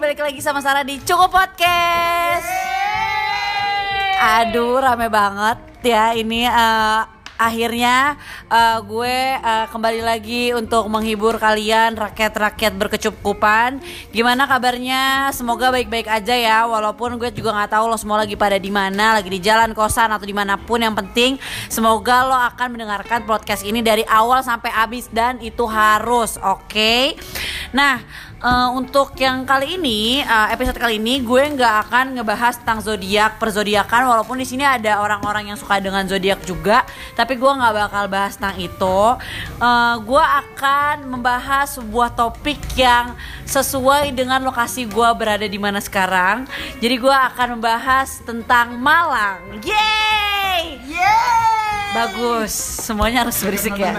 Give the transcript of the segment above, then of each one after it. balik lagi sama Sarah di Cukup Podcast. Aduh, rame banget ya ini eh, akhirnya eh, gue eh, kembali lagi untuk menghibur kalian rakyat-rakyat berkecukupan. Gimana kabarnya? Semoga baik-baik aja ya. Walaupun gue juga nggak tahu lo semua lagi pada di mana, lagi di jalan kosan atau dimanapun. Yang penting semoga lo akan mendengarkan podcast ini dari awal sampai habis dan itu harus, oke? Nah. Eh, untuk yang kali ini eh, episode kali ini gue nggak akan ngebahas tentang zodiak perzodiakan walaupun di sini ada orang-orang yang suka dengan zodiak juga tapi gue nggak bakal bahas tentang itu Eh, gue akan membahas sebuah topik yang sesuai dengan lokasi gue berada di mana sekarang jadi gue akan membahas tentang Malang yeay Bagus, semuanya harus berisik ya.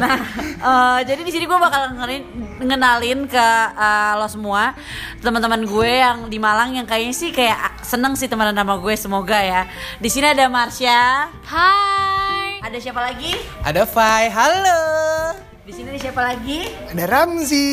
Nah, eh, jadi di sini gue bakal ngerin- ngenalin ke eh, lo semua teman-teman gue yang di Malang yang kayaknya sih kayak ah, seneng sih teman nama gue semoga ya. Di sini ada Marsha, Hai. ada siapa lagi? Ada Fai, halo. Di sini ada siapa lagi? Ada Ramzi.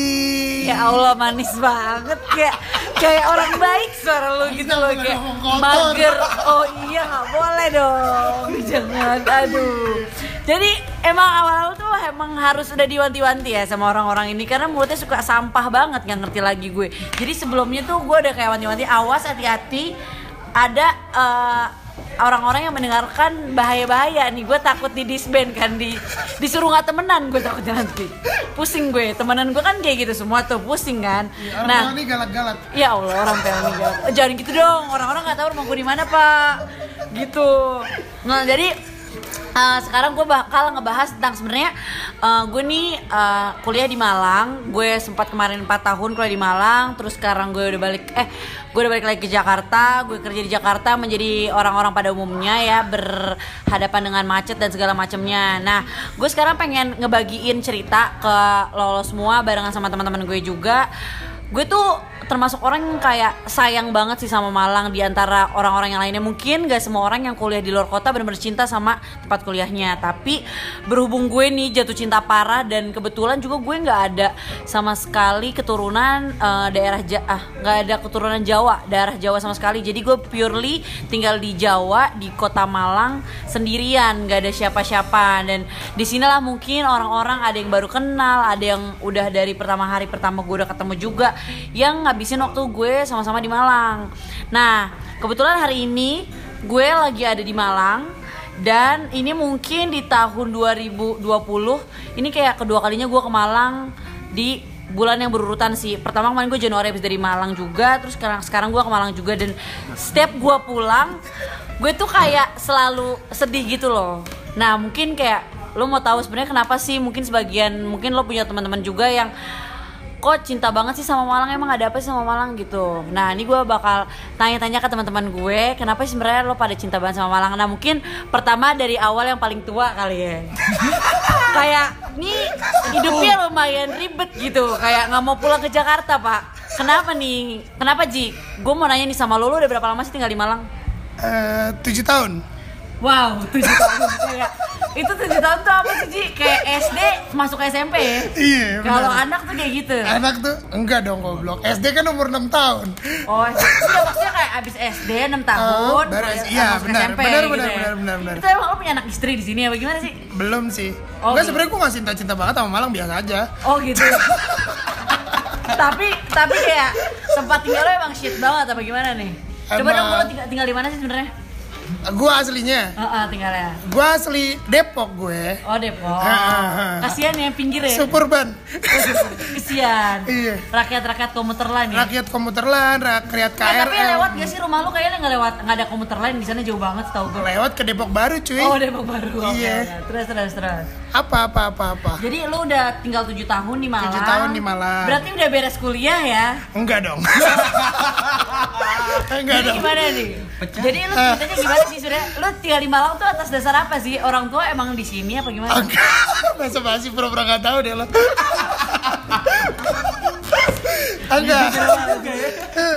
Ya Allah manis banget kayak kayak orang baik suara lu gitu loh kayak mager. Oh iya nggak boleh dong. Jangan aduh. Jadi emang awal-awal tuh emang harus udah diwanti-wanti ya sama orang-orang ini karena mulutnya suka sampah banget nggak ngerti lagi gue. Jadi sebelumnya tuh gue udah kayak wanti-wanti awas hati-hati ada eh, orang-orang yang mendengarkan bahaya-bahaya nih gue takut di disband kan di disuruh nggak temenan gue takutnya nanti pusing gue temenan gue kan kayak gitu semua tuh pusing kan nah Iya, Orang tua ini galak-galak. Ya Allah, orang Pelni galak. Eh, Jangan gitu dong, orang-orang nggak tahu rumah gue di mana pak. Gitu. Nah jadi eh, sekarang gue bakal ngebahas tentang sebenarnya eh, gue nih eh, kuliah di Malang. Gue sempat kemarin 4 tahun kuliah di Malang, terus sekarang gue udah balik eh gue udah balik lagi ke Jakarta. Gue kerja di Jakarta menjadi orang-orang pada umumnya ya berhadapan dengan macet dan segala macamnya. Nah, gue sekarang pengen ngebagiin cerita ke lo lo semua barengan sama teman-teman gue juga gue tuh termasuk orang yang kayak sayang banget sih sama Malang di antara orang-orang yang lainnya mungkin gak semua orang yang kuliah di luar kota benar-benar cinta sama tempat kuliahnya tapi berhubung gue nih jatuh cinta parah dan kebetulan juga gue nggak ada sama sekali keturunan eh, daerah ja ah nggak ada keturunan Jawa daerah Jawa sama sekali jadi gue purely tinggal di Jawa di kota Malang sendirian nggak ada siapa-siapa dan disinilah mungkin orang-orang ada yang baru kenal ada yang udah dari pertama hari pertama gue udah ketemu juga yang ngabisin waktu gue sama-sama di Malang nah kebetulan hari ini gue lagi ada di Malang dan ini mungkin di tahun 2020 ini kayak kedua kalinya gue ke Malang di bulan yang berurutan sih pertama kemarin gue Januari habis dari Malang juga terus sekarang sekarang gue ke Malang juga dan setiap gue pulang gue tuh kayak selalu sedih gitu loh nah mungkin kayak lo mau tahu sebenarnya kenapa sih mungkin sebagian mungkin lo punya teman-teman juga yang kok cinta banget sih sama Malang emang ada apa sih sama Malang gitu nah ini gue bakal tanya-tanya ke teman-teman gue kenapa sih sebenarnya lo pada cinta banget sama Malang nah mungkin pertama dari awal yang paling tua kali ya kayak nih hidupnya lumayan ribet gitu kayak nggak mau pulang ke Jakarta pak kenapa nih kenapa Ji gue mau nanya nih sama lo lo udah berapa lama sih tinggal di Malang Eh, tujuh tahun. wow tujuh tahun kayak itu tujuh tahun tuh apa sih Ji kayak SD masuk ke SMP ya Iya, benar. kalau anak tuh kayak gitu Anak tuh enggak dong goblok. SD kan umur 6 tahun. Oh, iya maksudnya kayak abis SD 6 tahun, Oh, baru mulai iya, masuk benar, SMP benar, gitu benar, ya. benar, benar, benar. Itu emang lo punya anak istri di sini apa gimana sih? Belum sih. Oh, Enggak gitu. sebenarnya gue masih cinta-cinta banget sama Malang biasa aja. Oh gitu. tapi tapi kayak tempat tinggal lo emang shit banget apa gimana nih? Coba Emang- dong lo tinggal, tinggal di mana sih sebenarnya? Gue aslinya, Heeh, tinggalnya. gue asli Depok gue. Oh Depok. Ah, ah, ah. Kasihan ya pinggir ya. Suburban. Kasihan. Iya. Rakyat-rakyat komuter lain ya. Rakyat komuter lain, rakyat Eh, KRL. tapi lewat gak sih rumah lo kayaknya nggak lewat nggak ada komuter lain di sana jauh banget tau gue. Lewat ke Depok Baru cuy. Oh Depok baru. Oke, Iya. oke. Terus terus terus. Apa apa apa apa. Jadi lu udah tinggal 7 tahun di Malang. 7 tahun di Malang. Berarti udah beres kuliah ya. Enggak dong. enggak Jadi dong. gimana nih? Jadi lu ceritanya gimana sih sudah? Lu tinggal di Malang tuh atas dasar apa sih? Orang tua emang di sini apa gimana? Masa basi pura-pura gak tau deh lo Enggak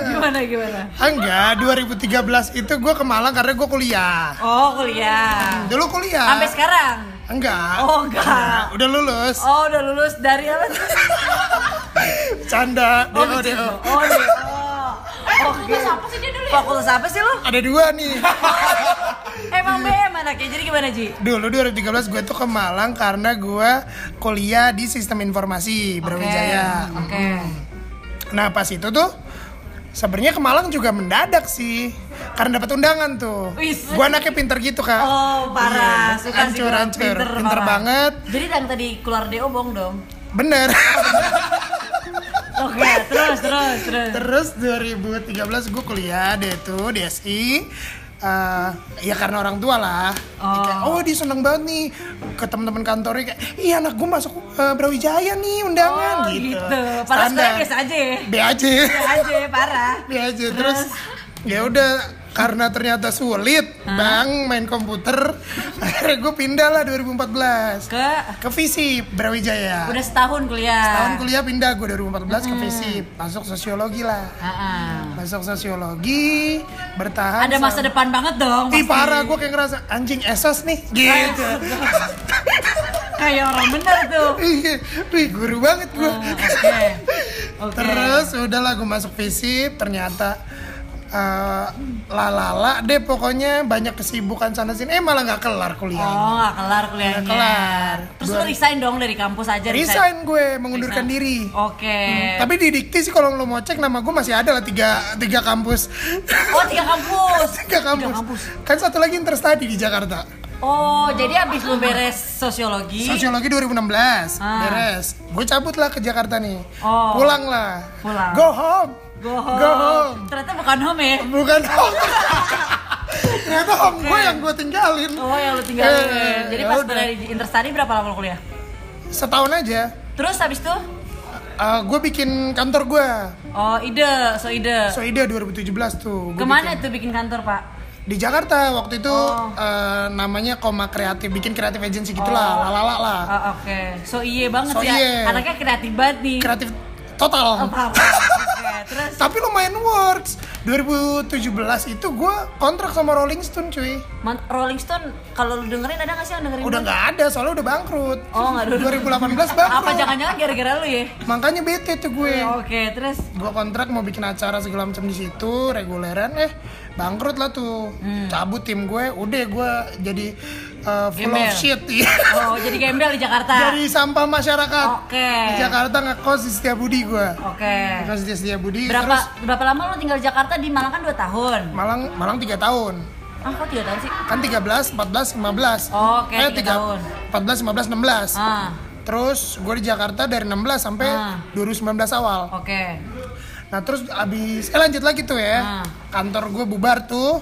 Gimana gimana? Enggak, 2013 itu gue ke Malang karena gue kuliah Oh, kuliah. Dulu kuliah Sampai sekarang. Enggak Oh, enggak. Udah lulus Oh, udah lulus dari apa? Canda Oh, Deo, bercanda. deo Oh, DO. fakultas apa sih dia dulu ya? Fakultas apa sih lu? Ada dua nih. Iya. Emang BM anaknya, jadi gimana Ji? Dulu 2013 gue tuh ke Malang karena gue kuliah di sistem informasi Brawijaya. Hmm. Oke. Nah pas itu tuh sebenarnya ke Malang juga mendadak sih karena dapat undangan tuh. Wis. Gue anaknya pinter gitu kak. Iya. Oh parah, suka sih Hancur, gua. hancur. Pinter parah. banget. Jadi yang tadi keluar DO bohong dong. Bener. Oke, terus terus terus. Terus 2013 gue kuliah deh tuh di SI. Eh, ya karena orang tua lah. Oh. Kayak, oh dia seneng banget nih ke teman-teman kantornya kayak, iya anak gue masuk eh, Brawijaya nih undangan Oh, gitu. gitu. Padahal sekolahnya biasa aja ya? Be aja. aja parah. Be aja. Terus ya udah karena ternyata sulit bang main komputer akhirnya gue pindah lah 2014 Ke ke visi Brawijaya udah Hmm. setahun kuliah. tahun kuliah pindah gue 2014 ke Visip masuk sosiologi lah Ah-ah. masuk sosiologi Ah. bertahan Ada masa sama- depan banget dong. pasti. Ih parah gue kayak ngerasa anjing esos nih gitu Kayak orang bener tuh. Ih, Wih guru banget gue Oh, Oke. Ah, Oke. Terus udahlah gue masuk visip ternyata eh, lalala deh pokoknya banyak kesibukan sana sini eh malah nggak kelar kuliah Oh, gak kelar kuliahnya. Nggak kelar. Terus lu Gua- resign dong dari kampus aja. resign gue mengundurkan Resign. diri Oke. tapi di dikti sih kalau lo mau cek nama gue masih ada lah tiga tiga kampus Oh, tiga kampus. tiga kampus. kan satu lagi interstudy di Jakarta Oh, jadi abis lu beres sosiologi, Sosiologi 2016 Ah. beres. Gue cabut lah ke Jakarta nih. Oh. Ah. Pulang lah. Pulang. Go home. go home. Go home. Ternyata bukan home ya. Bukan home. Ternyata home gue yang gue tinggalin. Oh, yang lu tinggalin. Eh, jadi ya pas udah. beres di interstudy berapa lama lu kuliah? setahun aja. Terus habis itu? eh, gue bikin kantor gue. Oh, ide, so ide. Soida 2017 tuh. Gua Kemana bikin. tuh bikin kantor, Pak? Di Jakarta waktu itu Oh. eh, namanya Koma Kreatif, bikin kreatif agency gitulah, lalala lah. Oh, Oke, so iye banget So ya. iye. Anaknya kreatif banget nih. Kreatif Oh, total. parah. Oke, terus Tapi lumayan works. 2017 itu gue kontrak sama Rolling Stone cuy. Man- Rolling Stone kalau lu dengerin ada nggak sih yang dengerin? Udah nggak ada soalnya udah bangkrut. Oh, nggak dulu. 2018 bangkrut. Apa jangan-jangan gara-gara lu ya? Makanya bete tuh gue. Oke, terus Gue kontrak mau bikin acara segala macam di situ, reguleran eh bangkrut lah tuh. Hmm. Cabut tim gue, udah gue jadi uh, full Gembel. of shit. iya. oh jadi gembel di Jakarta. jadi sampah masyarakat. Oke. Di Jakarta ngekos di Setiabudi gue. Oke. Ngekos di Setiabudi Berapa terus berapa lama lu tinggal di Jakarta di Malang kan 2 tahun. Malang Malang 3 tahun. Ah, kok 3 tahun sih? kan 13, 14, 15 Oh, Oke, tiga tiga- tahun. 14, 15, 16 Ah. Terus gue di Jakarta dari 16 sampai Ah. Oh. 2019 awal Oke. Nah terus abis, eh lanjut lagi tuh ya Ah. Kantor gue bubar tuh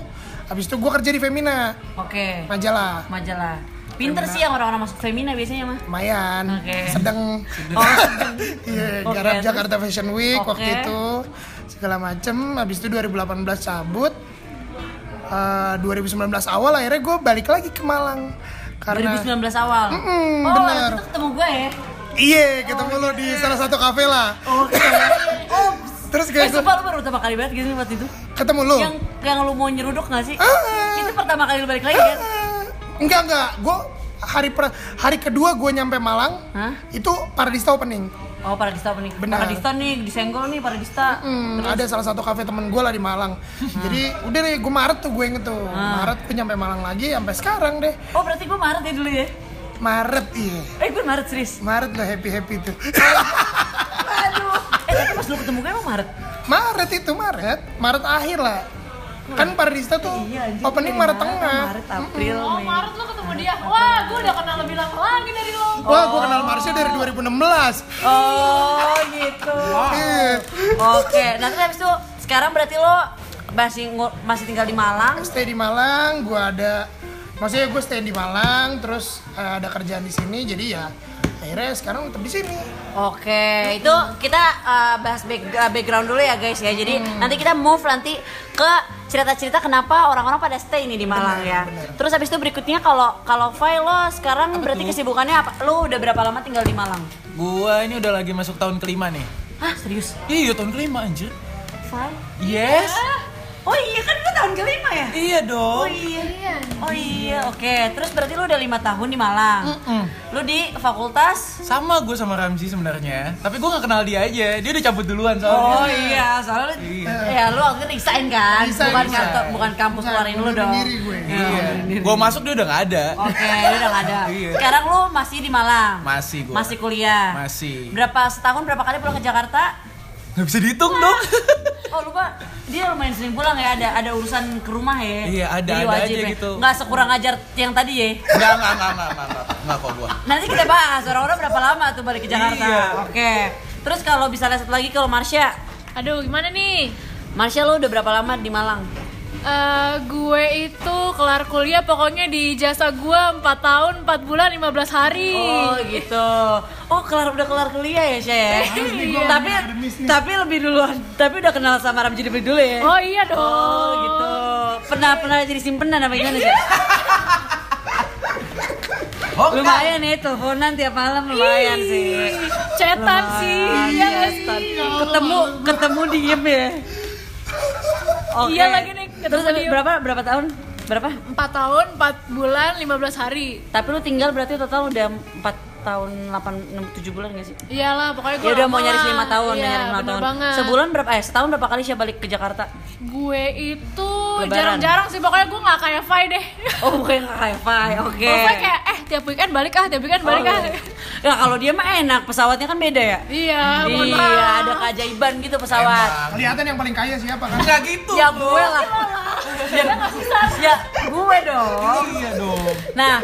Abis itu gue kerja di Femina Oke. Majalah Majalah. Pinter sih yang orang-orang masuk Femina biasanya mah. Lumayan Oke. Sedang Oh, Iya, Oke, garap terus? Jakarta Fashion Week Oke. waktu itu Segala macem Abis itu 2018 cabut Eh, 2019 awal akhirnya gue balik lagi ke Malang Oh, Karena 2019 awal. Mm-mm, oh, bener. waktu itu ketemu gue ya. Iya, ketemu lo Oh, di salah satu kafe lah. Oke. Ups. Terus Eh, kayak gue sumpah lu baru pertama kali banget gitu waktu itu. ketemu lo. Yang yang lu mau nyeruduk gak sih? Ah. Itu pertama kali lu balik lagi kan? Enggak enggak, gue hari per- hari kedua gue nyampe Malang. Hah? Itu Paradista opening. Oh, Paradista apa nih? Benar. Paradista nih, disenggol nih Paradista. Hmm, ada salah satu kafe temen gue lah di Malang. Jadi udah deh, gue Maret tuh gue inget tuh. Ah. Maret gue nyampe Malang lagi, sampai sekarang deh. Oh, berarti gue Maret ya dulu ya? Maret iya. Eh, gue Maret serius. Maret lah happy happy tuh. Aduh. Eh, tapi pas lu ketemu gue emang Maret. Maret itu Maret, Maret akhir lah. Kan Paradista tuh Iya, anjing. Dari opening Maret tengah. Maret, April, Oh Mei. Maret lo ketemu dia. Wah gue udah kenal lebih lama lagi dari lo. Wah, gue kenal Marsha dari 2016. Oh, gitu. Iya. Oke, nah terus habis itu sekarang berarti lo masih ngu- masih tinggal di Malang. stay di Malang, gue ada maksudnya gue stay di Malang, terus eh, ada kerjaan di sini, jadi ya akhirnya sekarang tetap di sini. Oke, itu kita uh, bahas back- uh, background dulu ya guys ya. Jadi nanti kita move nanti ke cerita-cerita kenapa orang-orang pada stay ini di Malang ya. Terus habis itu berikutnya kalau kalau Fai lo sekarang berarti kesibukannya apa? Lo udah berapa lama tinggal di Malang? Gua ini udah lagi masuk tahun kelima nih. Hah, serius? Iya tahun kelima anjir. Fai? Ah. Yes. Oh iya kan lo tahun kelima ya? Iya Oh dong. iya. Oh iya, oke. Terus berarti lu udah lima tahun di Malang. Lu di fakultas? Sama gue sama Ramzi sebenarnya, tapi gue gak kenal dia aja. Dia udah cabut duluan Oh soalnya. iya, soalnya Iya. ya lu waktu itu resign kan, Resign, bukan resign. kantor, bukan kampus Bukan, keluarin lu mundurin dong. diri gue. Iya. Gue masuk dia Oh. udah gak ada. Oke, lu udah nggak ada. Iya. Sekarang lu masih di Malang. Masih gua. Masih kuliah. Masih. Berapa setahun berapa kali pulang ke Jakarta? Gak bisa dihitung dong. Oh lupa, dia lumayan sering pulang ya, ada ada urusan ke rumah ya. Iya, ada- Jadi ada wajib aja ya. gitu. Nggak sekurang ajar yang tadi ya. Enggak, enggak, enggak, enggak, enggak, enggak, enggak kok gue. Nanti kita bahas orang-orang berapa lama tuh balik ke Jakarta. Iya. Oke. Terus kalau misalnya satu lagi kalau Marsha, Aduh, gimana nih? Marsha lo udah berapa lama di Malang? Eh, gue itu kelar kuliah pokoknya di jasa gue 4 tahun 4 bulan 15 hari. Oh gitu. Oh kelar udah kelar kuliah ya Syah. Iya, nih gua tapi akademis nih. tapi lebih duluan. Tapi udah kenal sama Ramji lebih dulu ya. Oh, iya dong. Oh, gitu. Pernah pernah jadi simpenan apa gimana sih? Oh, enggak. Lumayan ya teleponan tiap malam lumayan sih. Cetan sih. Iya Lumayan, gak sih? Tan. Ketemu ketemu diem ya. Oke. Iya lagi nih, ketemu Terus diem. berapa berapa tahun? Berapa? 4 tahun 4 bulan 15 hari. Tapi lu tinggal berarti total udah 4 tahun 8 6 7 bulan gak sih? Iyalah, pokoknya gue Ya udah mau lama. nyaris lima tahun, Iya, nyaris lima bener tahun. Banget. Sebulan berapa? Eh, setahun berapa kali Syah balik ke Jakarta? gue itu Lebaran. jarang-jarang sih pokoknya gue nggak kayak Fai deh. Oh, bukan nggak wifi, oke. Pokoknya kayak eh tiap weekend balik ah, tiap weekend balik ah. Nah, kalau dia mah enak, pesawatnya kan beda ya. Iya, mohon Iya, maaf. ada keajaiban gitu pesawat. Kelihatan yang paling kaya siapa kan? Enggak gitu. Ya gue lah. Ya, ya gue dong. Iya dong. Nah,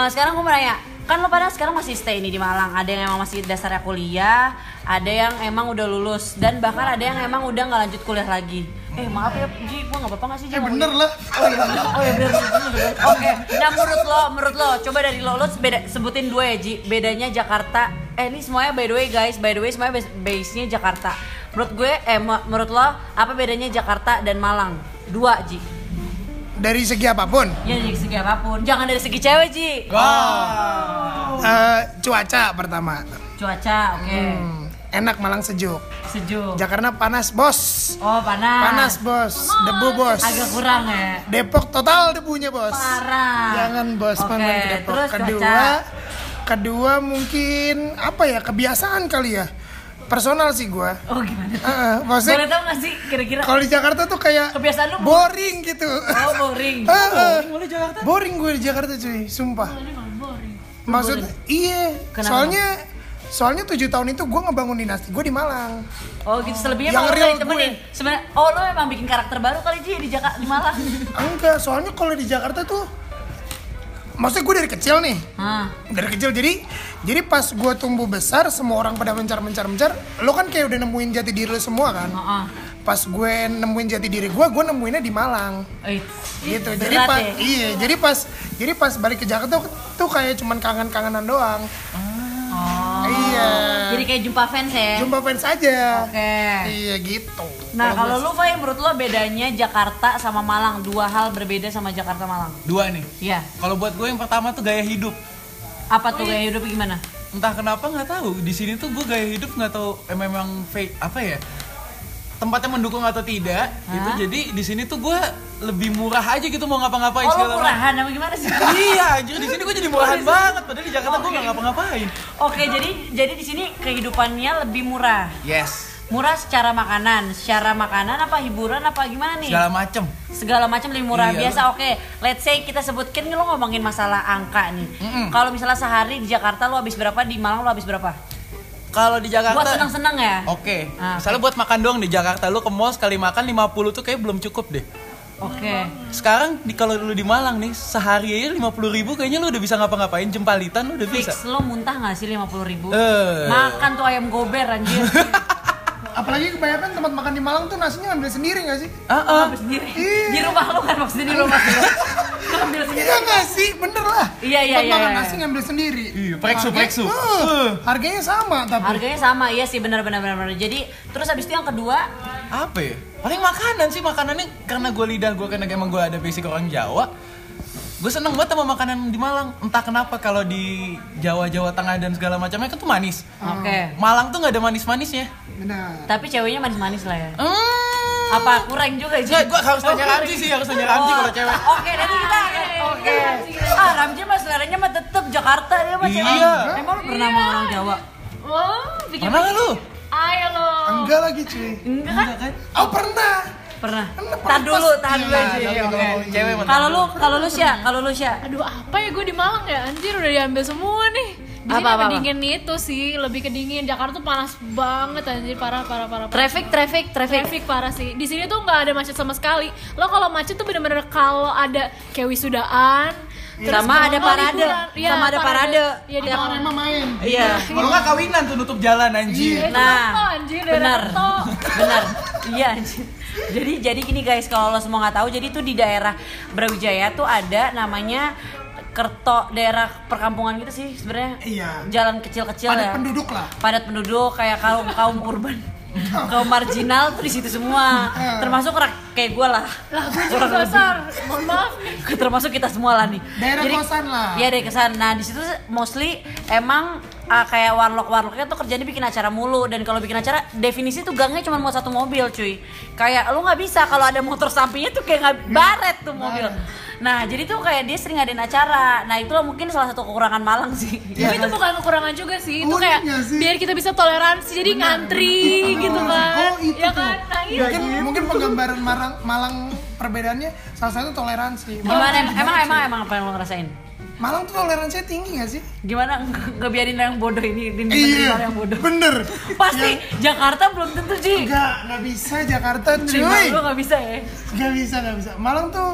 eh, sekarang gue mau nanya, kan lo pada sekarang masih stay nih di Malang. Ada yang emang masih dasarnya kuliah, ada yang emang udah lulus, dan bahkan ada yang emang udah nggak lanjut kuliah lagi. Eh maaf ya, Ji, gue nggak apa-apa nggak sih? Ji, Eh ngomong bener lah. Oh iya, oh iya bener, bener, bener. Oke, nah menurut lo, menurut lo, coba dari lo, lo beda, sebutin dua ya Ji, bedanya Jakarta Eh ini semuanya by the way guys, by the way semuanya base- base-nya Jakarta Menurut gue, eh me- menurut lo, apa bedanya Jakarta dan Malang? Dua Ji Dari segi apapun, Ya dari segi apapun, jangan dari segi cewek Ji Oh. Ah. Wah. Oh. Eh, cuaca pertama. Cuaca, oke, Hmm, enak Malang sejuk. sejuk Jakarta panas bos. Oh panas Panas bos, debu bos. Agak kurang ya Depok total debunya bos. Parah Jangan bos Ah, Oke, pangan ke Kan Depok. terus kedua, cuaca kedua mungkin apa ya kebiasaan kali ya. Personal sih gua. Oh gimana? Heeh, maksudnya Boleh tau gak sih kira-kira kalau di Jakarta tuh kayak kebiasaan lu boring gitu. Oh boring Heeh. Mulai Jakarta. boring gue di Jakarta cuy, sumpah. Maksud iya, Kenapa? soalnya soalnya tujuh tahun itu gue ngebangun dinasti gue di Malang. Oh gitu selebihnya Yang emang real lo ditemenin. gue. Sebenarnya oh lo emang bikin karakter baru kali Ji di Jakarta di Malang. Enggak, soalnya kalau di Jakarta tuh maksudnya gue dari kecil nih. Hah. Dari kecil jadi jadi pas gue tumbuh besar semua orang pada mencar mencar mencar, lo kan kayak udah nemuin jati diri lo semua kan. Heeh. Pas gue nemuin jati diri gue, gue nemuinnya di Malang. Eh, gitu berat jadi pas ya? iya jadi pas jadi pas balik ke Jakarta tuh, tuh kayak cuman kangen kangenan doang iya Oh. Jadi kayak jumpa fans ya. jumpa fans aja Oke. iya gitu Nah, kalau lu Fai, menurut lo bedanya Jakarta sama Malang, dua hal berbeda sama Jakarta Malang. Dua nih. Iya. Kalau buat gue yang pertama tuh gaya hidup. Apa tuh gaya hidup gimana? Entah kenapa nggak tahu. Di sini tuh gue gaya hidup nggak tahu eh, memang fake apa ya? Tempatnya mendukung atau tidak gitu. Jadi di sini tuh gue lebih murah aja gitu mau ngapa-ngapain Oh, segala lo macam. murahan apa gimana sih? iya, anjir di sini gue jadi murahan banget. Padahal di Oh, Jakarta gue iya. nggak ngapa-ngapain. Oke, jadi jadi di sini kehidupannya lebih murah. Yes. Murah secara makanan, secara makanan apa hiburan apa gimana nih? Segala macem. segala macam lebih murah Iya. biasa oke let's say kita sebutkan lo ngomongin masalah angka nih kalau misalnya sehari di Jakarta lo habis berapa di Malang lo habis berapa Kalau di Jakarta. Oh. buat seneng seneng ya oke Oke, Ah. misalnya buat makan doang di Jakarta lu ke mall sekali makan 50 tuh kayak belum cukup deh. Sekarang di kalau lu di Malang nih sehari aja 50 ribu kayaknya lu udah bisa ngapa-ngapain jempalitan lu udah bisa. fix lo muntah nggak sih lima puluh ribu Eh. makan tuh ayam gober anjir apalagi kebanyakan tempat makan di Malang tuh nasinya ambil sendiri gak sih Ah, Lo ah. ambil sendiri Iya. di rumah lo kan maksudnya di rumah lo Lo ambil sendiri iya gak sih bener lah Iya, iya, Tempat iya, makan iya. nasi ngambil sendiri Iya, preksu, Harga- preksu. Eh, Eh. harganya sama tapi harganya sama iya sih benar benar benar benar. jadi terus habis itu yang kedua Apa ya? Paling makanan sih makanannya karena gue lidah gue karena emang gue ada basic orang Jawa. Gue seneng banget sama makanan di Malang. Entah kenapa kalau di Jawa Jawa Tengah dan segala macamnya kan tuh manis. oke Malang tuh nggak ada manis-manisnya. benar tapi ceweknya manis manis lah ya Hmm, Apa kurang juga sih? Oh, Enggak, gua harus tanya Ramji sih, harus tanya Ramji kalau cewek. Oke, nanti kita akan Oke. Ah, Ramji mah seleranya mah tetep Jakarta dia mah cewek. Iya. Emang lu pernah sama orang Jawa? Wah, bikin Pernah nggak lu? ayo lo. Enggak lagi cuy. Enggak kan? Oh pernah. Pernah. Tahan dulu, tahan dulu Iya, Ji. tapi Oke. kalau- Cewek mah. Kalau lu, kalau lu Sya, kalau lu Sya. Aduh, apa ya gue di Malang ya? Anjir udah diambil semua nih. Di sini Apa, apa, apa? kedingin itu sih, lebih kedingin. Jakarta tuh panas banget anjir, parah parah parah. parah. Traffic, traffic, traffic. Traffic parah sih. Di sini tuh nggak ada macet sama sekali. Lo kalau macet tuh bener-bener kalau ada kayak wisudaan, Sama ada kalau nggak parade. liburan. Iya, Sama ada parade. Iya, di Tiap- Malang. Emang main. Iya. Kalau nggak kawinan tuh nutup jalan anjir. Eh, Nah, kenapa, anjir, daerah benar, Kerto? benar, iya. anjir. Jadi jadi gini guys, kalau lo semua nggak tahu, jadi tuh di daerah Brawijaya tuh ada namanya Kerto, daerah perkampungan gitu sih sebenarnya. Iya. Jalan kecil-kecil Padat ya. penduduk lah. Padat penduduk kayak kaum kaum urban, kaum marginal tuh di situ semua. Termasuk orang kayak gue lah. Lah gue juga dasar. Mohon maaf nih. termasuk kita semua lah nih Daerah kosan lah. iya daerah kosan nah di situ mostly emang ah, kayak warlock warlocknya tuh kerjanya bikin acara mulu dan kalau bikin acara definisi tuh gangnya cuma mau satu mobil cuy kayak lu nggak bisa kalau ada motor sampingnya tuh kayak nggak baret tuh mobil nah jadi tuh kayak dia sering ngadain acara nah itulah mungkin salah satu kekurangan Malang sih Tapi itu bukan kekurangan juga sih. Itu kayak Uniknya Iya. sih. biar kita bisa toleransi. Jadi ngantri gitu kan. Oh itu ya tuh. kan? Nah, iya. mungkin mungkin penggambaran Malang, Malang perbedaannya salah satu toleransi. gimana em- emang emang emang apa yang lo ngerasain Malang tuh toleransinya tinggi gak sih? gimana nggak biarin yang bodoh ini ini menerima yang bodoh Iya. bener. pasti Jakarta belum tentu sih Enggak, nggak bisa Jakarta cuy. terima lu nggak bisa ya Gak bisa, gak bisa. Malang tuh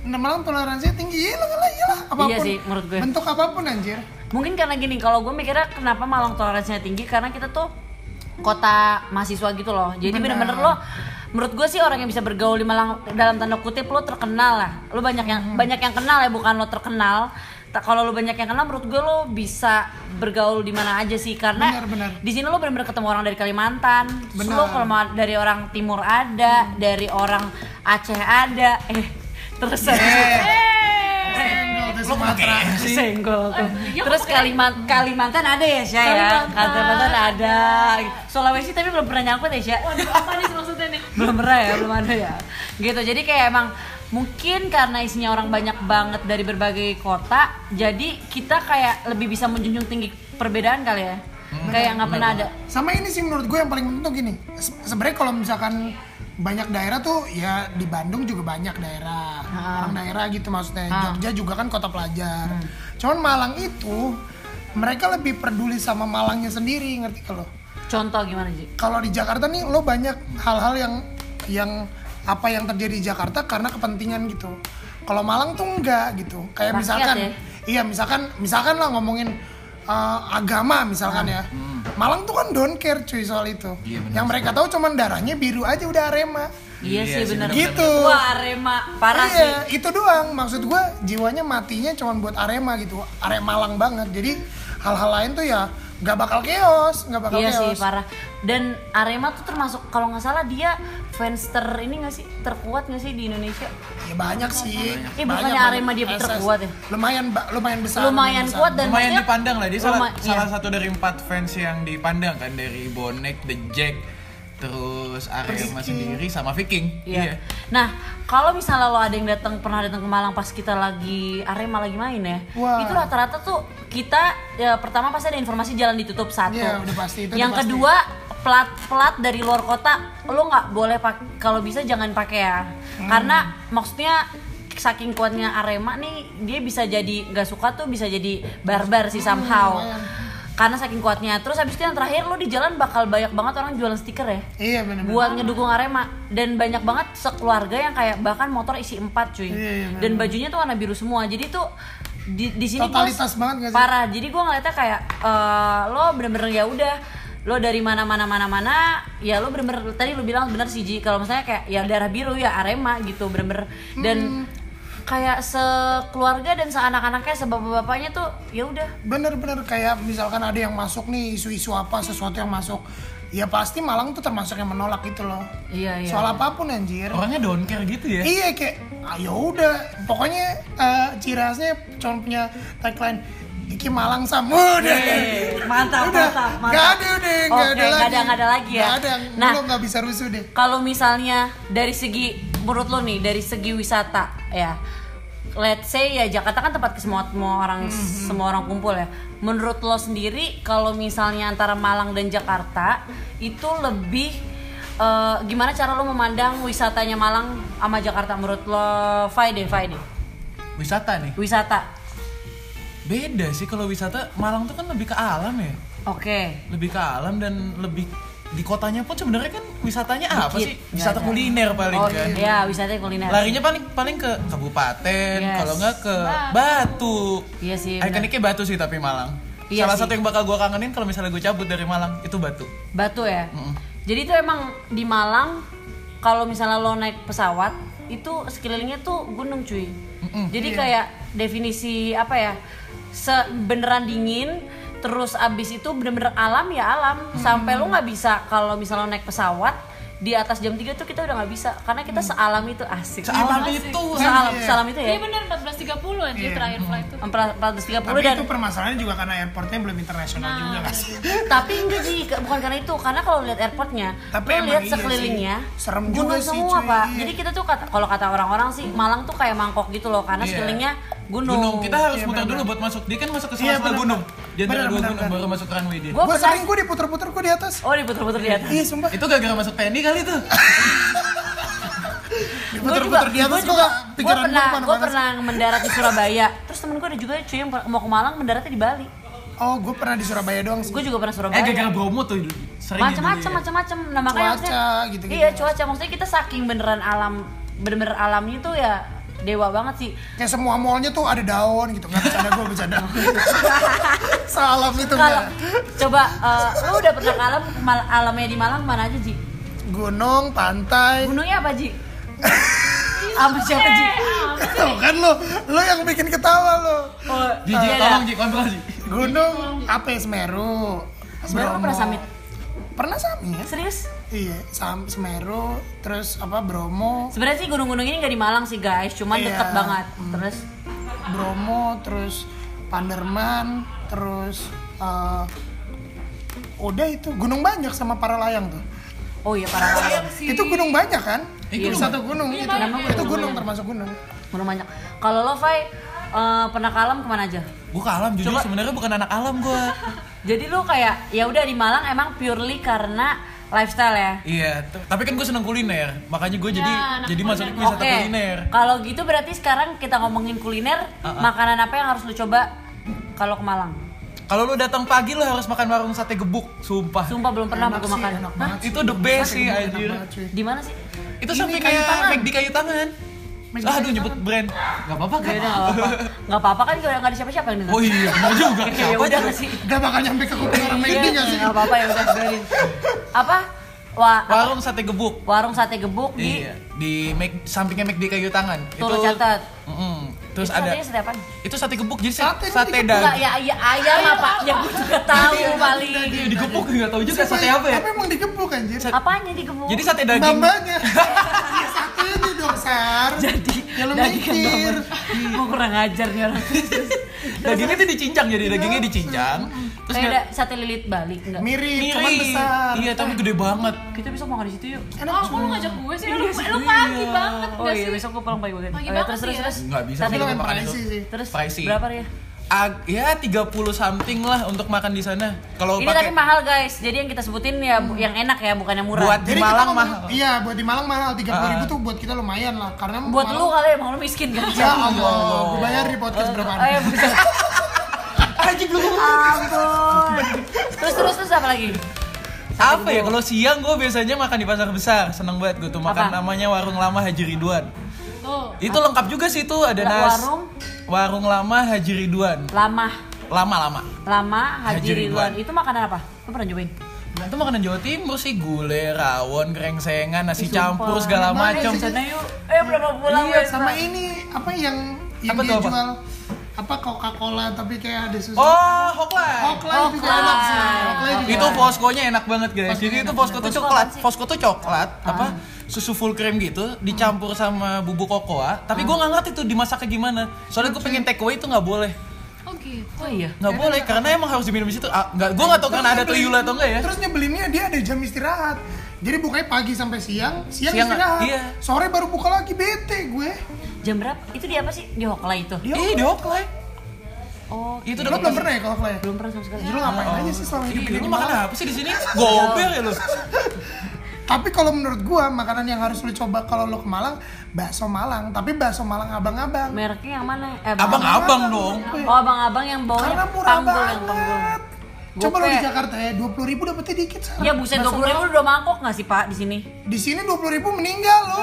Malang toleransinya tinggi, iyalah, iyalah, iyalah. Apapun, Iya sih, menurut gue. Bentuk apapun anjir. Mungkin karena gini, kalau gue mikirnya kenapa Malang toleransinya tinggi karena kita tuh kota mahasiswa gitu loh. Jadi bener-bener lo menurut gue sih orang yang bisa bergaul di Malang dalam tanda kutip lo terkenal lah. Lo banyak yang Hmm. banyak yang kenal ya bukan lo terkenal. Ta- Kalau lo banyak yang kenal menurut gue lo bisa bergaul di mana aja sih karena Benar, benar. di sini lo bener-bener ketemu orang dari Kalimantan. Terus Lo Benar. kalau ma- dari orang timur ada, dari orang Aceh ada. Eh, terus Iya, Senggol ke Sumatera. senggol tuh. iya, Terus Kaliman- Kalimantan ada ya Syah ya? Kalimantan. Kalimantan ada. Sulawesi tapi belum pernah nyangkut ya Syah? Waduh, apa nih maksudnya nih? Belum pernah ya, belum ada ya. Gitu. Jadi kayak emang mungkin karena isinya orang banyak banget dari berbagai kota, jadi kita kayak lebih bisa menjunjung tinggi perbedaan kali ya. Kayak nggak pernah ada. Sama ini sih menurut gue yang paling penting tuh gini. se- Sebenarnya kalau misalkan banyak daerah tuh ya di Bandung juga banyak daerah. Orang daerah gitu maksudnya. Jogja juga kan kota pelajar. Hmm. Cuman Malang itu mereka lebih peduli sama Malangnya sendiri, ngerti kalau? Contoh gimana sih? Kalau di Jakarta nih lo banyak hal-hal yang yang apa yang terjadi di Jakarta karena kepentingan gitu. Kalau Malang tuh enggak gitu. Kayak Rakyat misalkan ya? iya misalkan misalkan lah ngomongin eh, agama misalkan ya. Malang tuh kan don't care cuy soal itu. yang mereka tahu cuman darahnya biru aja udah Arema. Iya, Iya sih sih, benar. gitu. Wah, Arema parah iya, sih. itu doang. Maksud gue jiwanya matinya cuman buat Arema gitu. Arema Malang banget. Jadi hal-hal lain tuh ya nggak bakal chaos, nggak bakal Iya sih chaos. parah. Dan Arema tuh termasuk kalau nggak salah dia fans ter ini nggak sih terkuat nggak sih di Indonesia? Ya banyak Eh, sih. Banyak, bukannya banyak. Arema dia SS. terkuat ya? Lumayan ba- lumayan besar. Lumayan besar. kuat dan lumayan maksudnya- dipandang lah dia salah, Luma- iya. salah satu dari empat fans yang dipandang kan dari bonek the jack terus Arema sendiri sama Viking Iya. Nah, kalau misalnya lo ada yang datang pernah datang ke Malang pas kita lagi Arema lagi main ya, Wah. itu rata-rata tuh kita ya, pertama pasti ada informasi jalan ditutup satu. Iya, udah pasti, itu udah yang pasti. kedua plat-plat dari luar kota lo nggak boleh pak kalau bisa jangan pakai ya, Hmm. karena maksudnya saking kuatnya Arema nih dia bisa jadi nggak suka tuh bisa jadi barbar sih Hmm, somehow. Karena saking kuatnya. Terus habis itu yang terakhir lo di jalan bakal banyak banget orang jualan stiker ya Iya benar. buat ngedukung Arema dan banyak banget sekeluarga yang kayak bahkan motor isi 4 Iya, cuy dan bajunya tuh warna biru semua jadi tuh di di sini gua- Totalitas banget nggak sih? parah jadi gue ngeliatnya kayak eh, lo bener-bener ya udah lo dari mana mana mana mana ya lo bener-bener tadi lo bilang bener sih Ji kalau misalnya kayak ya darah biru ya Arema gitu bener-bener Hmm. dan kayak sekeluarga dan seanak-anaknya sebapak-bapaknya tuh ya udah Bener-bener kayak misalkan ada yang masuk nih isu-isu apa sesuatu yang masuk. Ya pasti Malang tuh termasuk yang menolak gitu loh. iya Oh, iya Soal apapun anjir. orangnya don't care gitu ya Iya kayak ayo udah pokoknya eh, ciri khasnya cuma punya tagline Iki Malang Sam. Udah. Yeay, mantap, Udah. mantap, mantap. Gak ada deh, Oke, gak ada lagi. nggak ada- nggak ada lagi ya? Gak ada. Nah. Nah, lo gak bisa rusuh deh. Kalau misalnya dari segi menurut lo nih dari segi wisata ya, let's say ya Jakarta kan tempat ke semua, semua orang Hmm, semua orang kumpul ya. Menurut lo sendiri kalau misalnya antara Malang dan Jakarta itu lebih eh, gimana cara lo memandang wisatanya Malang sama Jakarta menurut lo Friday Friday Wisata nih. wisata. Beda sih kalau wisata Malang tuh kan lebih ke alam ya. Oke. Lebih ke alam dan lebih di kotanya pun sebenarnya kan wisatanya apa Dikit. sih? Nggak Wisata ada. kuliner paling Oh kan. iya, wisata kuliner. Larinya paling paling ke kabupaten, Yes. kalau nggak ke Batu. Iya sih. benar. Ikoniknya Batu sih tapi Malang. Iya Salah sih. satu yang bakal gua kangenin kalau misalnya gue cabut dari Malang itu Batu. Batu ya. Mm-mm. Jadi itu emang di Malang kalau misalnya lo naik pesawat itu sekelilingnya tuh gunung cuy. Mm-mm. Jadi kayak definisi apa ya? se- beneran dingin terus abis itu bener-bener alam ya alam sampai lo nggak bisa kalau misalnya lo naik pesawat di atas jam 3 tuh kita udah nggak bisa karena kita sealam itu asik. Sealam Iya, itu. Sealam, sealam itu ya. Iya bener 14.30 Iya. anjir terakhir flight tuh. 430 Tapi dan itu permasalahannya juga karena airportnya belum Nah, internasional juga kan. tapi enggak sih ke- bukan karena itu karena kalau lihat airportnya Tapi lo emang lihat iya sekelilingnya sih. Serem gunung juga sih, semua cuy. pak Iya. jadi kita tuh kata kalau kata orang-orang sih Malang tuh kayak mangkok gitu loh karena Iya. sekelilingnya gunung, Gunung. Kita harus Iya, muter benar. dulu buat masuk. Dia kan masuk ke Iya, semua benar. gunung. Dia antara Benar, dua benar, gunung benar. baru masuk ke runway dia. Gua Gue pernah- sering gue diputer-puter gue di atas. oh diputer-puter di atas Iya sumpah. Itu gara-gara masuk TNI kali tuh. Diputer-puter di atas gue gak gue pikiran gue pernah gue kemana-mana. pernah mendarat di Surabaya terus temen gue ada juga cuy yang per- mau ke Malang mendaratnya di Bali Oh gue pernah di Surabaya doang sih. gue juga pernah Surabaya eh gara-gara Bromo tuh dulu. sering ya macam-macam dulu ya. macam-macam nah makanya Cuaca, maksudnya- gitu-gitu. ya. iya cuaca maksudnya kita saking beneran alam bener-bener alamnya tuh ya dewa banget sih Kayak semua mallnya tuh ada daun gitu. Gak bercanda gue bercanda. Salam itu Kalau enggak. coba eh, lu udah pernah ke alam mal- alamnya di Malang mana aja Ji? Gunung, pantai. Gunungnya apa Ji? Sama siapa Ji? Tuh kan lo, lo yang bikin ketawa lo. Oh, Ji, Ji, iya dah. tolong Ji, kontrol Ji. Gunung apa ya Semeru? Semeru Bromo. pernah summit? Pernah summit? Serius? Iya, Sam Semeru, terus apa Bromo, Sebenarnya sih gunung-gunung ini nggak di Malang sih guys, cuman Iya. deket banget. Terus Bromo, terus Panderman, terus eh, udah itu gunung banyak sama para layang tuh. oh iya para layang. Itu gunung banyak kan? Eh, gunung. Itu satu gunung itu. banyak, iya. Eh, Itu gunung termasuk gunung. Gunung banyak. Kalau lo Fai eh, pernah ke alam kemana aja? Gua ke alam jujur Coba- sebenarnya bukan anak alam gua. Jadi lu kayak ya udah di Malang emang purely karena lifestyle ya. Iya, t- tapi kan gue seneng kuliner, makanya gue jadi Ya, anak jadi masuk ke kuliner. Iya, wisata Oke. Iya, kuliner. Kalau gitu berarti sekarang kita ngomongin kuliner, makanan apa yang harus lu coba kalau ke Malang? Kalau lu datang pagi lu harus makan warung sate gebuk, sumpah. Sumpah belum pernah gue Enak sih, makan. enak Hah? banget sih. Itu the best sih Enak anjir. banget, cuy. Di mana sih? Itu Ini sampai kayu kayak tangan. McD kayu tangan. McD kayu Aduh nyebut brand. Gak apa-apa kan? Beda nggak apa-apa. Nggak apa-apa kan kalau nggak ada siapa-siapa yang dengar. Oh iya, bener juga. Oke, ya Siapa udah aja? sih. Gak bakal nyampe ke kuping orang Iya, Medi gak sih? nggak apa-apa ya udah biarin. Apa? Wa- apa? Warung sate gebuk. warung sate gebuk di Iya, di Mac- sampingnya McD kayu tangan. Tuh, lu catat. Mm-mm. Terus Itu ada Iya. satenya sate apa? itu sate gebuk jadi Sate sate, itu sate digebuk. Enggak, daging. ya, ya ayam apa? Ya gue juga tahu paling. Iya, digebuk nggak tahu juga sate apa ya. Apa emang digebuk anjir? Apanya digebuk? Jadi sate daging. Bambanya. ya satu ini dong, Sar. jadi Ya lu daging kan mikir. gambar. Gua kurang ajar nih orang. Dagingnya tuh dicincang jadi dagingnya dicincang. Terus Iya. Kayak dia- ada sate lilit Bali enggak? Mirip, cuman Miri. besar. Iya, tapi gede banget. Kita bisa makan di situ yuk. Enak Oh, aku cuy. ngajak gue sih. Lu, lu pagi Iya. banget Oh gak iya, sih? besok gue pulang pagi banget. Pagi Oh, ya, banget terus sih terus ya. terus. Nggak bisa Sate sih, gebuk. Makan makan itu. pricey sih. Terus Pricey. berapa ya? Ag- ya 30 something lah untuk makan di sana. Kalau Ini tapi pakai mahal guys. Jadi yang kita sebutin ya bu- yang enak ya, bukan yang murah. buat di Jadi kita Malang ngomong- mahal. Iya, buat di Malang mahal 30 ribu Ah. tuh buat kita lumayan lah karena buat lu Malang- kali emang lu miskin kan. Ya Allah, gue bayar di podcast berapa? Ya Eh, bukan. Anjing lu. Ampun. Terus terus terus apa lagi? Apa ya kalau siang gue biasanya makan di pasar besar. Seneng banget gue tuh makan Apa? namanya warung lama Haji Ridwan. Tuh. Itu lengkap juga sih itu ada Wa- nas. warung? Warung lama Haji Ridwan. Lamah, Lama-lama. lama Haji Haji Ridwan. Ridwan. Itu makanan apa? Lu pernah cobain? Itu makanan Jawa Timur sih gulai, rawon, kerengsengan, Ih, nasi campur sumpah. segala Mana macam. sih? Sana yuk. Eh, berapa pulang Iya, Wes? sama ini apa yang ya, yang Apa dia tuh, apa? jual apa Coca-Cola tapi kayak ada susu. Oh, hoklai. Oklay juga enak sih. Oklay juga. Itu poskonya enak banget guys. Poskonya Jadi itu enak posko tuh banget. Posko coklat. apaan sih? Posko tuh coklat, apa susu full cream gitu dicampur sama bubuk kokoa. Tapi gue nggak ngerti tuh dimasaknya gimana. Soalnya gue pengen take away itu nggak boleh. Oh gitu. Oh iya. Nggak boleh karena emang harus diminum di situ. Ah, nggak, gue nggak tahu karena ada tuyul atau enggak ya. Terus nyebelinnya dia ada jam istirahat. Jadi bukanya pagi sampai siang, siang, Siang, istirahat. iya. Sore baru buka lagi bete gue. Jam berapa? Itu di apa sih? Di Hokla itu. Dia Ih, di Oakley. Oh, Itu Lo udah belum pernah ya kalau Clay? belum pernah sama sekali. Jadi lo ngapain Oh. aja sih selama hidup Ih, ini? lu makan apa sih di sini? Gobel ya lu. Tapi kalau menurut gua makanan yang harus lu coba kalau lo ke Malang, bakso Malang. Tapi bakso Malang abang-abang. Mereknya yang mana? Eh, Abang-abang dong. Gue. Oh, abang-abang yang bawahnya Karena murah panggul yang panggul. banget. Coba lo Gope. di Jakarta ya, 20.000 ribu dapetnya dikit. Sar. Ya buset, Bakso dua puluh ribu udah mangkok nggak sih pak di sini? Di sini 20.000 ribu meninggal lo.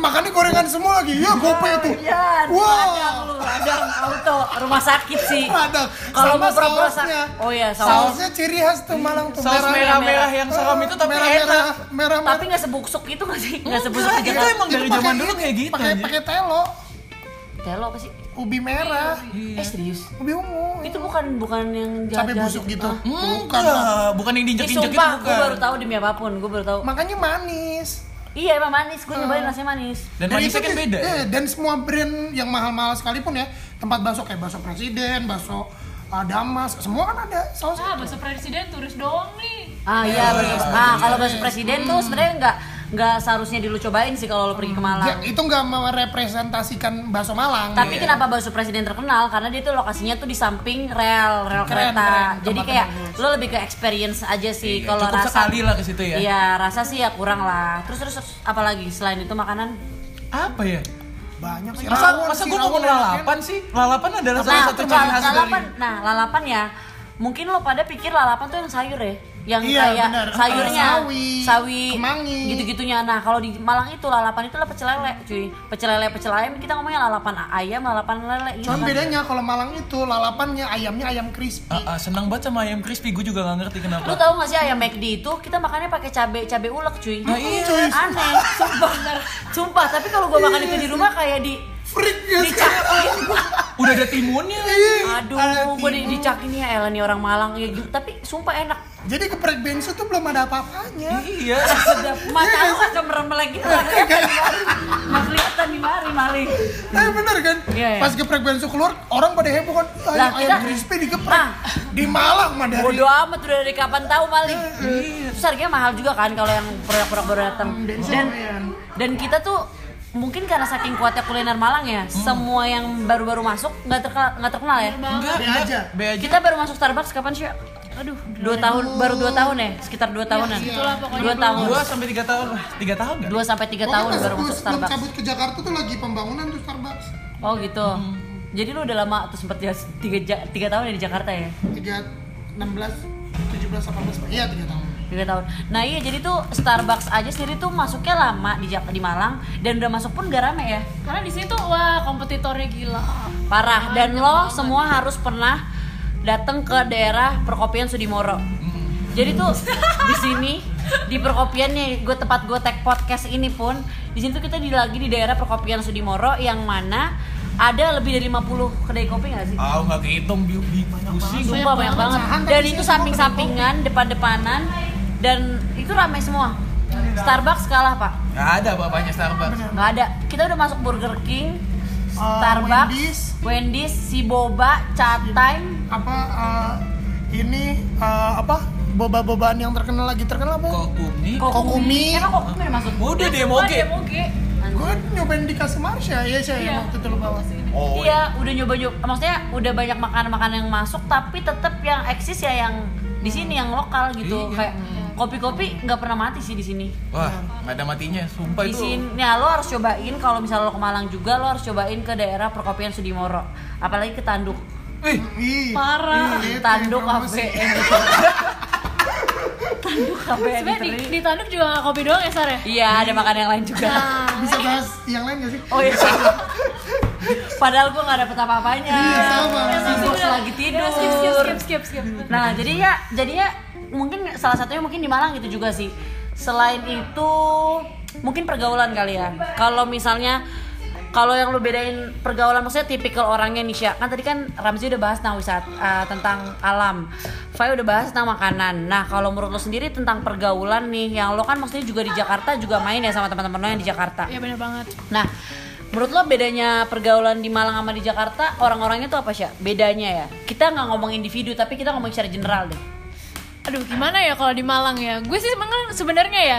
Makannya gorengan semua lagi. Ya gope tuh. Iya, radang Wow. lu, radang auto rumah sakit sih. Radang. Kalau Sama mau pura-pura sak- sausnya. Oh iya, saus. Iya. Sausnya ciri khas tuh Malang tuh Saus merah-merah yang seram itu tapi enak. merah, merah, Tapi nggak sebuksuk itu nggak sih? Nggak sebusuk Enggak, aja. Iya. itu emang dari zaman dulu kayak gitu. Pakai anjir. pakai telo, Telo apa sih? ubi merah, Eh serius? ubi ungu. Itu bukan bukan yang Cabai jahat-jahat busuk gitu. Ah. Bukan. Bang. Enggak, Hmm, iya. bukan yang Ih, diinjek-injek itu sumpah, gue bukan. baru tahu demi apapun, gue baru tahu. Makanya manis. Iya emang manis, gue nyobain Ah. rasanya manis. Dan manisnya itu kan di- beda. ya? eh, dan semua brand yang mahal-mahal sekalipun ya, tempat bakso kayak bakso presiden, bakso uh, damas, semua kan ada saus. Ah, bahasa presiden turis doang nih. Ah iya, bener. ah kalau bahasa presiden tuh sebenarnya nggak nggak seharusnya dulu cobain sih kalau lo pergi ke Malang. Ya, itu nggak merepresentasikan bakso Malang. Iya. Tapi Iya. kan- kenapa bakso presiden terkenal? Karena dia tuh lokasinya tuh di samping rel, rel Keren, kereta. keren. Jadi Tempat kayak yang lo lebih ke experience aja sih Iya, kalau cukup rasa. sekali lah ke situ ya. Iya, rasa sih ya kurang lah. Terus terus terus, apalagi selain itu makanan? Apa ya? Banyak sih. Masa masa gue ngomong lalapan sih? Lalapan adalah salah satu kalau ciri khas dari lalapan, nah lalapan ya. Mungkin lo pada pikir lalapan tuh yang sayur ya, yang Iya, kayak benar. sayurnya, Eh, sawi, sawi, kemangi. gitu-gitunya. Nah kalau di Malang itu lalapan itu lah pecel lele, cuy. Pecel lele, pecel ayam kita ngomongnya lalapan ayam, lalapan lele. Gitu Cuman kan. bedanya kalau Malang itu lalapannya ayamnya ayam crispy. Ah, ah, senang banget sama ayam crispy, gue juga gak Lu ngerti kenapa. tau gak sih ayam McD itu kita makannya pakai cabe cabe ulek cuy. Nah, iya. Cuy, Aneh, sumpah. Sumpah, tapi kalau gua makan itu di rumah kayak di Freak ya dicakin. Udah ada timunnya. Aduh, gua di, dicakin ya Ellen nih orang Malang ya gitu. Tapi sumpah enak. Jadi geprek bensu tuh belum ada apa-apanya. Iya. Sedap. Mata aku agak merem lagi tuh. Nggak kelihatan nih mari maling. Eh bener kan? Iya, iya. Pas geprek bensu keluar, orang pada heboh kan. Ayam, Lah, ayam kita- crispy digeprek. Nah, Di Malang mah dari bodo amat udah dari kapan tahu maling. Terus harganya mahal juga kan kalau yang produk-produk baru datang. Dan dan kita tuh mungkin karena saking kuatnya kuliner Malang ya, semua yang baru-baru masuk nggak terkenal, nggak terkenal ya. Enggak, Be enggak. aja. Be aja. Kita baru masuk Starbucks kapan sih? Aduh, dua tahun, baru dua tahun ya, sekitar dua tahunan. segitulah pokoknya dua belum. tahun, Dua sampai tiga tahun, lah, tiga tahun nggak? dua sampai tiga tahun Pokoknya baru sebelum- masuk sebelum Starbucks. cabut ke Jakarta tuh lagi pembangunan tuh Starbucks. Oh gitu. Jadi lu udah lama tuh sempet ya tiga, ja- tiga tahun ya di Jakarta ya? Tiga, 16, 17, 18, iya tiga tahun. tiga tahun. Nah iya jadi tuh Starbucks aja sendiri tuh masuknya lama di Jak- di Malang dan udah masuk pun gak rame ya. Karena di sini tuh wah kompetitornya gila. Parah dan lo semua harus pernah datang ke daerah perkopian Sudimoro. Jadi tuh di sini di perkopian nih gue tempat gue tag podcast ini pun di sini tuh kita di, lagi di daerah perkopian Sudimoro yang mana ada lebih dari 50 kedai kopi gak sih? Ah, nggak kehitung, bi, bi, pusing. Sumpah banyak banget. Dan itu samping-sampingan, depan-depanan dan itu ramai semua. Starbucks kalah, Pak. Nggak ada bapaknya Starbucks. Nggak ada. Kita udah masuk Burger King, Uh, Starbucks, Wendy's. Wendy's, si Boba, Time, Apa eh, ini eh, apa boba-bobaan yang terkenal lagi terkenal apa? ya? Kok Umi? Kokumi. Emang Kokumi udah masuk? Udah Dia deh, semua moge. Demoge. Gue nyobain di Kasemarsya, iya sih Iya. yang waktu itu lu bawa. Oh, Iya, udah nyoba nyoba. Maksudnya udah banyak makanan-makanan yang masuk, tapi tetap yang eksis ya yang di sini yang lokal gitu. Iya. Kayak kopi-kopi nggak pernah mati sih di sini. Wah, nggak ada matinya, sumpah Di itu. sini, ya lo harus cobain kalau misalnya lo ke Malang juga lo harus cobain ke daerah perkopian Sudimoro, apalagi ke Tanduk. Ih, Ih, Parah. ih, itu Tanduk yang promosi. kafe. Tanduk kafe. Sebenarnya di, Diterima. di tanduk juga nggak kopi doang ya Sar ya? Iya, ada makan yang lain juga. Bisa bahas yang lain gak sih? Oh iya. Padahal gue nggak dapet apa-apanya. Iya, sama. Sibuk Udah, lagi tidur. udah, Iya, Skip skip skip skip skip. Nah, jadi ya, jadi ya mungkin salah satunya mungkin di Malang gitu juga sih. Selain itu, mungkin pergaulan kali ya. Kalau misalnya kalau yang lu bedain pergaulan maksudnya tipikal orangnya nih Sya. Kan tadi kan Ramzi udah bahas tentang wisata eh, tentang alam. Fai udah bahas tentang makanan. Nah, kalau menurut lo sendiri tentang pergaulan nih yang lo kan maksudnya juga di Jakarta juga main ya sama teman-teman lo yang di Jakarta. Iya benar banget. Nah, Menurut lo bedanya pergaulan di Malang sama di Jakarta orang-orangnya tuh apa sih? Bedanya ya. Kita nggak ngomong individu tapi kita ngomong secara general deh. aduh gimana ya kalau di Malang ya gue sih emang sebenarnya ya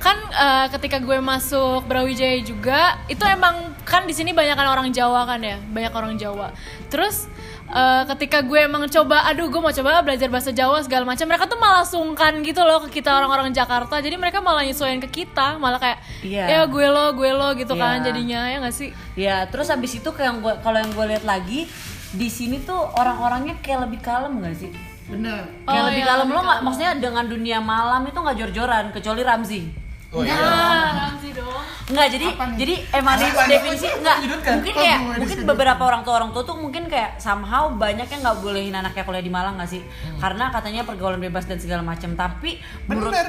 kan eh, ketika gue masuk Brawijaya juga itu emang kan di sini banyak orang Jawa kan ya banyak orang Jawa terus eh, ketika gue emang coba aduh gue mau coba belajar bahasa Jawa segala macam mereka tuh malah sungkan gitu loh ke kita orang-orang Jakarta jadi mereka malah nyesuaiin ke kita malah kayak Iya. ya gue lo gue lo gitu Iya. kan jadinya ya nggak sih Ya, terus habis itu kayak yang gua- kalau yang gue lihat lagi di sini tuh orang-orangnya kayak lebih kalem gak sih? Bener. Kayak Oh, lebih iya, kalem lebih lo nggak maksudnya dengan dunia malam itu nggak jor-joran kecuali Ramzi. Oh iya. ah sih dong Enggak, jadi jadi emang ada Apa nih? definisi enggak Lanjutkan. mungkin kayak Oh, gue mungkin disini. beberapa orang tua orang tua tuh mungkin kayak somehow banyak yang nggak bolehin anaknya kuliah di Malang gak sih? Karena katanya pergaulan bebas dan segala macam. Tapi menurut Eh, iya.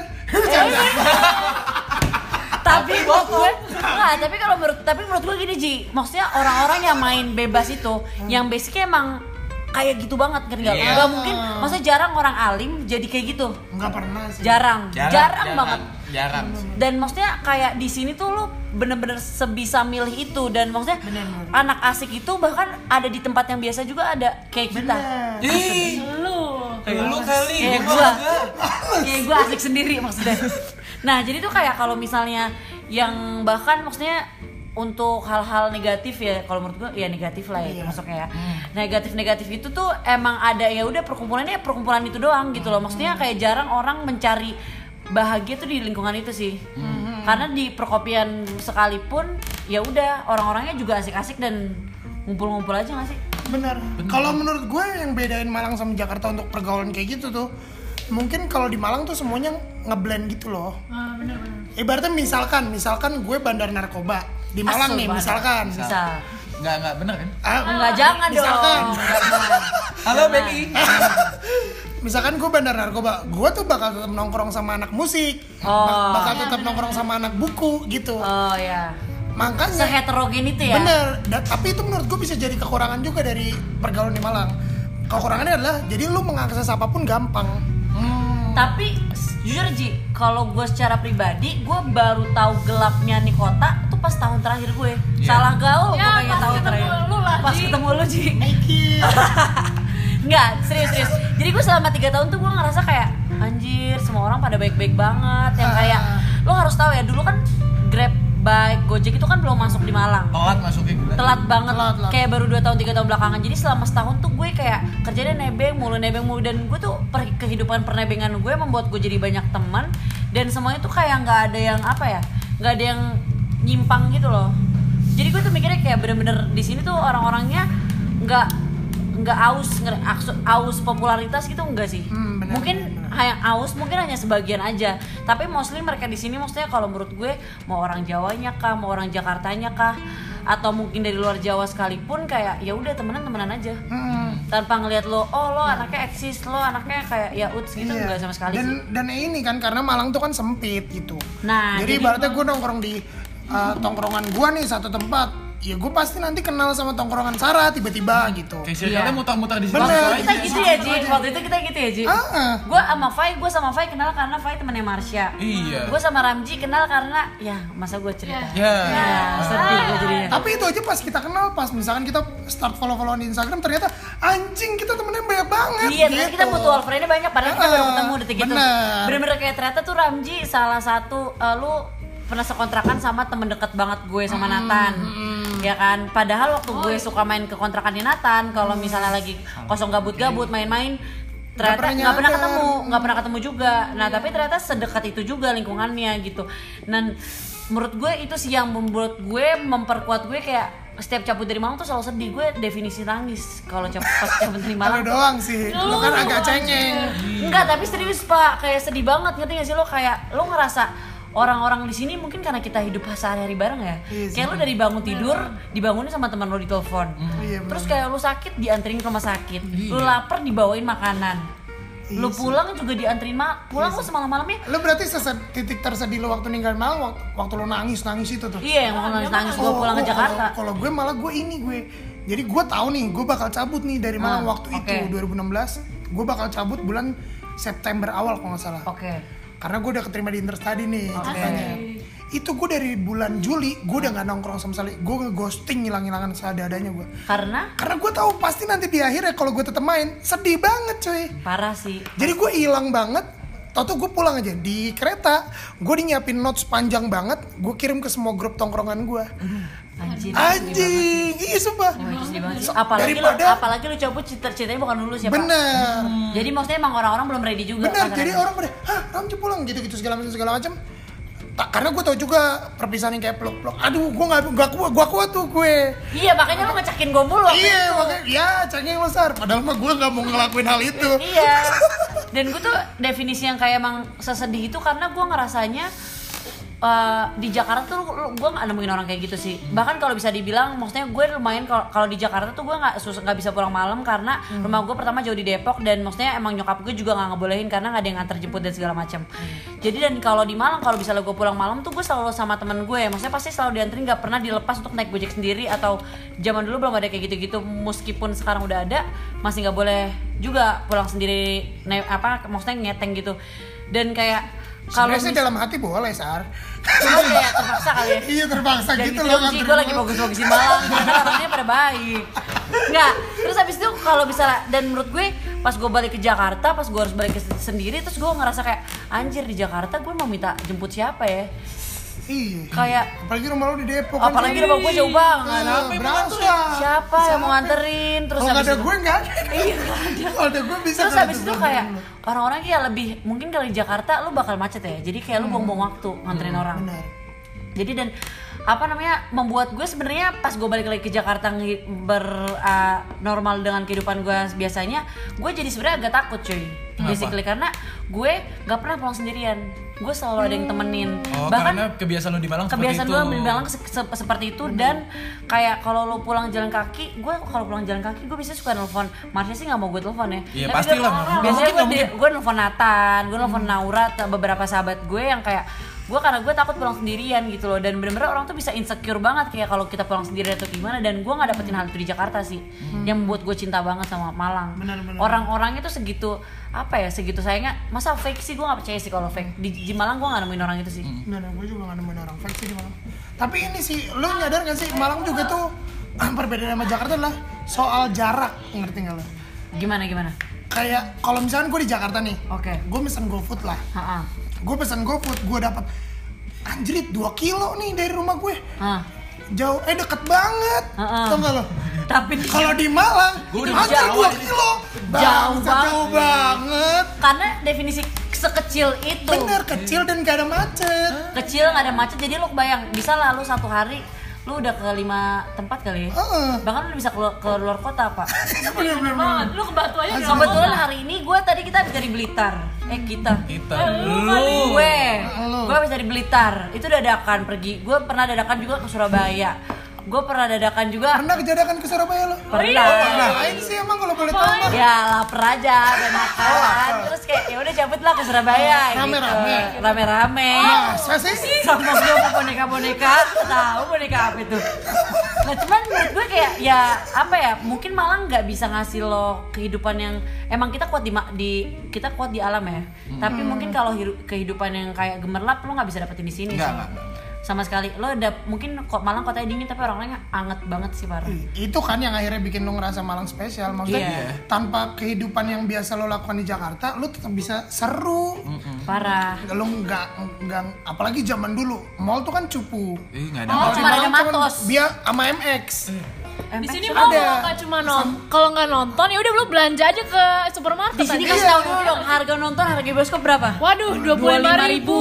Bener. Bercanda. tapi menurut gue nggak tapi kalau menurut tapi menurut gue gini Ji maksudnya orang-orang yang main bebas itu Hmm. yang basicnya emang kayak gitu banget kan nggak Iya. Nggak mungkin maksudnya jarang orang alim jadi kayak gitu Enggak pernah sih. jarang jarang, banget Jarang. dan maksudnya kayak di sini tuh lo bener-bener sebisa milih itu dan maksudnya anak asik itu bahkan ada di tempat yang biasa juga ada kayak kita Bener. Ih, lu kayak lu kali, Kayak gua gua. enggak. Kayak gue asik sendiri maksudnya. Nah, jadi tuh kayak kalau misalnya yang bahkan maksudnya untuk hal-hal negatif ya kalau menurut gue ya negatif lah Iya. ya itu masuknya ya Hmm. negatif-negatif itu tuh emang ada ya udah perkumpulannya ya perkumpulan itu doang gitu loh maksudnya Hmm. kayak jarang orang mencari bahagia tuh di lingkungan itu sih Hmm. karena di perkopian sekalipun ya udah orang-orangnya juga asik-asik dan ngumpul-ngumpul aja gak sih Bener. Kalau menurut gue yang bedain Malang sama Jakarta untuk pergaulan kayak gitu tuh, mungkin kalau di Malang tuh semuanya ngeblend gitu loh. ah, bener-bener Ibaratnya misalkan, misalkan gue bandar narkoba di Malang Asal nih, banget. misalkan. bisa Enggak, enggak bener kan? Ah, nggak jangan Misalkan. dong Jangan. Halo Becky. misalkan gue bandar narkoba, gue tuh bakal tetap nongkrong sama anak musik, Oh. bakal tetap nongkrong sama anak buku gitu. oh ya Makanya seheterogen itu ya Bener, dan, tapi itu menurut gue bisa jadi kekurangan juga dari pergaulan di Malang. Kekurangannya adalah jadi lu mengakses apapun gampang. Hmm. tapi s- jujur Ji kalau gue secara pribadi gue baru tahu gelapnya nih kota tuh pas tahun terakhir gue Iya. salah gaul Ya, pokoknya pas tahun ketemu terakhir lu lah, pas Ji. ketemu lu Ji Mikir. nggak serius serius jadi gue selama tiga tahun tuh gue ngerasa kayak anjir semua orang pada baik baik banget yang kayak Ah. lo harus tahu ya dulu kan grab bike gojek itu kan belum masuk di Malang Telat masuknya gila. telat banget Telat, telat. kayak baru 2 tahun tiga tahun belakangan jadi selama setahun tuh gue kayak kerjanya nebeng mulu nebeng mulu dan gue tuh per- kehidupan pernebengan gue membuat gue jadi banyak teman dan semuanya tuh kayak nggak ada yang apa ya nggak ada yang nyimpang gitu loh jadi gue tuh mikirnya kayak bener-bener di sini tuh orang-orangnya nggak nggak aus nge- aksu- aus popularitas gitu enggak sih Hmm, bener, mungkin hanya aus mungkin hanya sebagian aja tapi mostly mereka di sini maksudnya kalau menurut gue mau orang Jawanya kah mau orang Jakartanya kah atau mungkin dari luar Jawa sekalipun kayak ya udah temenan temenan aja Hmm. tanpa ngelihat lo oh lo anaknya eksis lo anaknya kayak ya uts gitu Iya. enggak sama sekali dan, sih dan ini kan karena Malang tuh kan sempit gitu. Nah, jadi- jadi, ibaratnya gue nongkrong di uh, tongkrongan gue nih satu tempat, ya gue pasti nanti kenal sama tongkrongan Sarah tiba-tiba gitu. Kayak circle-nya Iya. muter-muter di iya. situ. Bener. aja. kita gitu ya Ji waktu itu kita gitu ya Ji Ah, ah. gue sama Fai gue sama Fai kenal karena Fai temennya Marsha Iya. gue sama Ramji kenal karena ya masa gue cerita Ya. ya sedih gue jadinya Tapi itu aja pas kita kenal, pas misalkan kita start follow-followan di Instagram ternyata anjing kita temennya banyak banget. Iya, ternyata gitu. kita mutual friend-nya banyak padahal kita baru Heeh, ketemu detik itu. bener. Bener-bener kayak ternyata tuh Ramji salah satu eh, lu pernah sekontrakan sama temen deket banget gue sama Hmm, Nathan. Ya kan? Padahal waktu gue suka main ke kontrakannya Nathan, kalau misalnya lagi kosong gabut-gabut main-main ternyata pernah Iya. nggak pernah nyadar. ketemu, nggak pernah ketemu juga. Nah, tapi ternyata sedekat itu juga lingkungannya gitu. Dan menurut gue itu sih yang membuat gue memperkuat gue kayak setiap cabut dari Malang tuh selalu sedih gue definisi nangis kalau cabut pas cabut dari Kalau Malang doang sih, lu kan agak cengeng. Enggak, tapi serius pak, kayak sedih banget ngerti gak sih lo kayak lo ngerasa orang-orang di sini mungkin karena kita hidup sehari-hari bareng ya. Iya sih. Kayak lo dari bangun tidur dibangunin sama teman lo di telepon. Iya, bener. Terus kayak lo sakit dianterin ke rumah sakit, lo lapar dibawain makanan. Iya Lo sih. Iya pulang juga dianterin mak, pulang lo semalam-malamnya Lu berarti seset titik tersedih lu waktu ninggalin Malang waktu, waktu lu nangis nangis itu tuh. Iya, yang mau nangis-nangis gue pulang ke gua- Jakarta. kalau- Kalau gue malah gue ini gue. Jadi gue tahu nih, gue bakal cabut nih dari Malang Ah, waktu oke. itu 2016. Gue bakal cabut bulan September awal kalau nggak salah. Oke. Oh, Karena gue udah keterima di Interstudy nih ceritanya. itu gue dari bulan Juli gue udah nggak nongkrong sama sekali gue ghosting hilang hilangan seadanya gue Karena karena gue tahu pasti nanti di akhirnya kalau gue tetap main sedih banget cuy parah sih. jadi gue hilang banget Tau gue pulang aja di kereta gue nyiapin notes panjang banget gue kirim ke semua grup tongkrongan gue Mm-hmm. Anjir. anjing iya sumpah Wah, sedih banget sih. So, apalagi lu, Ah, daripada- apalagi lu cabut cita ceritanya bukan lulus ya, Pak. bener Jadi maksudnya emang orang-orang belum ready juga. Benar, pacaran. jadi orang pada, hah, Ramji pulang gitu-gitu segala macam segala macam. Tak, karena gue tau juga perpisahan yang kayak peluk-peluk. Aduh, gue nggak gak kuat, gue kuat tuh gue. Iya, makanya lu ngecakin gue mulu. waktu Iya, itu. makanya, ya cengeng besar. Padahal mah gue nggak mau ngelakuin hal itu. Iya. Dan gue tuh definisi yang kayak emang sesedih itu karena gue ngerasanya eh, di Jakarta tuh gue nggak nemuin orang kayak gitu sih. Bahkan kalau bisa dibilang, maksudnya gue lumayan kalau kalau di Jakarta tuh gue nggak susah nggak bisa pulang malam karena Hmm. rumah gue pertama jauh di Depok dan maksudnya emang nyokap gue juga nggak ngebolehin karena nggak ada yang nganter jemput dan segala macam. Hmm. Jadi dan kalau di Malang kalau bisa gue pulang malam tuh gue selalu sama temen gue, maksudnya pasti selalu dianterin nggak pernah dilepas untuk naik gojek sendiri atau zaman dulu belum ada kayak gitu-gitu. Meskipun sekarang udah ada, masih nggak boleh juga pulang sendiri naik apa maksudnya ngeteng gitu dan kayak kalau Sebenarnya sih mis- dalam hati boleh, Sar. cuma kayak terpaksa kali ya iya, terpaksa dan gitu gitu loh. dong sih ngatur gue lagi gua. bagus-bagusin Malang karena orangnya pada baik Nggak, terus habis itu kalau bisa dan menurut gue pas gue balik ke Jakarta pas gue harus balik ke sendiri terus gue ngerasa kayak anjir di Jakarta gue mau minta jemput siapa ya Iya. kayak Apalagi rumah lo di Depok. kan, apalagi cuy. rumah gue jauh banget Eh, yang Berasa. siapa yang mau nganterin terus Kalau nggak habis ada itu- gue nggak ada. iya nggak ada Kalau ada gue bisa. Terus kalau habis itu ada gue. kayak orang-orang kayak lebih mungkin kalau di Jakarta lu bakal macet ya. Jadi kayak lu buang-buang waktu nganterin orang. Benar. Jadi dan apa namanya membuat gue sebenarnya pas gue balik lagi ke Jakarta nge- ber uh, normal dengan kehidupan gue biasanya, gue jadi sebenarnya agak takut cuy. Basically karena gue nggak pernah pulang sendirian. Gue selalu ada yang temenin. Oh, Bahkan karena kebiasaan lu di Malang kebiasaan seperti itu. gue bilang se- se- seperti itu dan kayak kalau lo pulang jalan kaki gue kalau pulang jalan kaki gue biasanya suka nelfon Marsha sih nggak mau gue telepon ya Iya, Tapi pasti dia- lah, Mar. Nggak biasanya mungkin, Hmm. gue nggak di- gue nelfon Nathan gue nelfon Naura te- beberapa sahabat gue yang kayak gue karena gue takut pulang sendirian gitu loh dan bener-bener orang tuh bisa insecure banget kayak kalau kita pulang sendirian atau gimana dan gue nggak dapetin hal itu di Jakarta sih Hmm. yang membuat gue cinta banget sama Malang orang-orang itu segitu apa ya segitu sayangnya masa fake sih gue nggak percaya sih kalau fake di, di Malang gue nggak nemuin orang itu sih Hmm. Nah, nah, gue juga gak nemuin orang fake sih di Malang. Tapi ini sih, lo nyadar gak sih Malang juga tuh perbedaan sama Jakarta adalah soal jarak, ngerti gak lo? gimana gimana Kayak kalau misalkan gue di Jakarta nih, Oke. gue pesen GoFood lah. Ha-ha. Gue pesen GoFood, gue dapat anjrit 2 kilo nih dari rumah gue. Ah, Jauh, eh deket banget. Heeh. Tau gak lo? tapi di- Kalau di Malang, Gua udah anjir jauh 2 kilo. Bangsa, banget. jauh banget. karena definisi sekecil itu Bener, kecil dan gak ada macet. kecil nggak ada macet jadi lo bayang bisa lah lu satu hari lu udah ke lima tempat kali ya Heeh. bahkan lu bisa ke, ke luar kota pak Bener-bener. banget lu ke Batu aja udah kebetulan hari ini gue tadi kita habis dari Blitar eh kita Kita Gue, Gitu. lu. Lu. gue habis dari Blitar, itu dadakan pergi. Gue pernah dadakan juga ke Surabaya. Gue pernah dadakan juga. Pernah Oh, kejadian kan ke Surabaya lo? Pernah. Nah, Ngapain sih emang kalau boleh tahu mah? ya lapar aja dan makan terus kayak ya udah cabut lah ke Surabaya Rame-rame. gitu. rame-rame Ah. Masa Nah, sih? sama gue mau boneka boneka tahu boneka apa itu nah cuman menurut gue kayak ya apa ya mungkin Malang nggak bisa ngasih lo kehidupan yang emang kita kuat di, ma- di kita kuat di alam ya Hmm. tapi mungkin kalau hiru- kehidupan yang kayak gemerlap lo nggak bisa dapetin di sini Nggak, sih. nggak, nggak. sama sekali lo ada mungkin kok Malang kotanya dingin tapi orang lainnya anget banget sih parah Itu kan yang akhirnya bikin lo ngerasa Malang spesial Maksudnya Iya. tanpa kehidupan yang biasa lo lakukan di Jakarta Lo tetap bisa seru Mm. Hmm. parah Lo nggak, nggak, apalagi zaman dulu Mall tuh kan cupu Ih, nggak ada. Oh, Kalau di cuma ada Malang cuman Matos. Dia sama MX di Empek sini sama- mau ada. nggak cuma nonton kalau nggak nonton ya udah lu belanja aja ke supermarket Di sini kan aja. kasih tahu dulu dong harga nonton harga bioskop berapa? waduh dua puluh lima ribu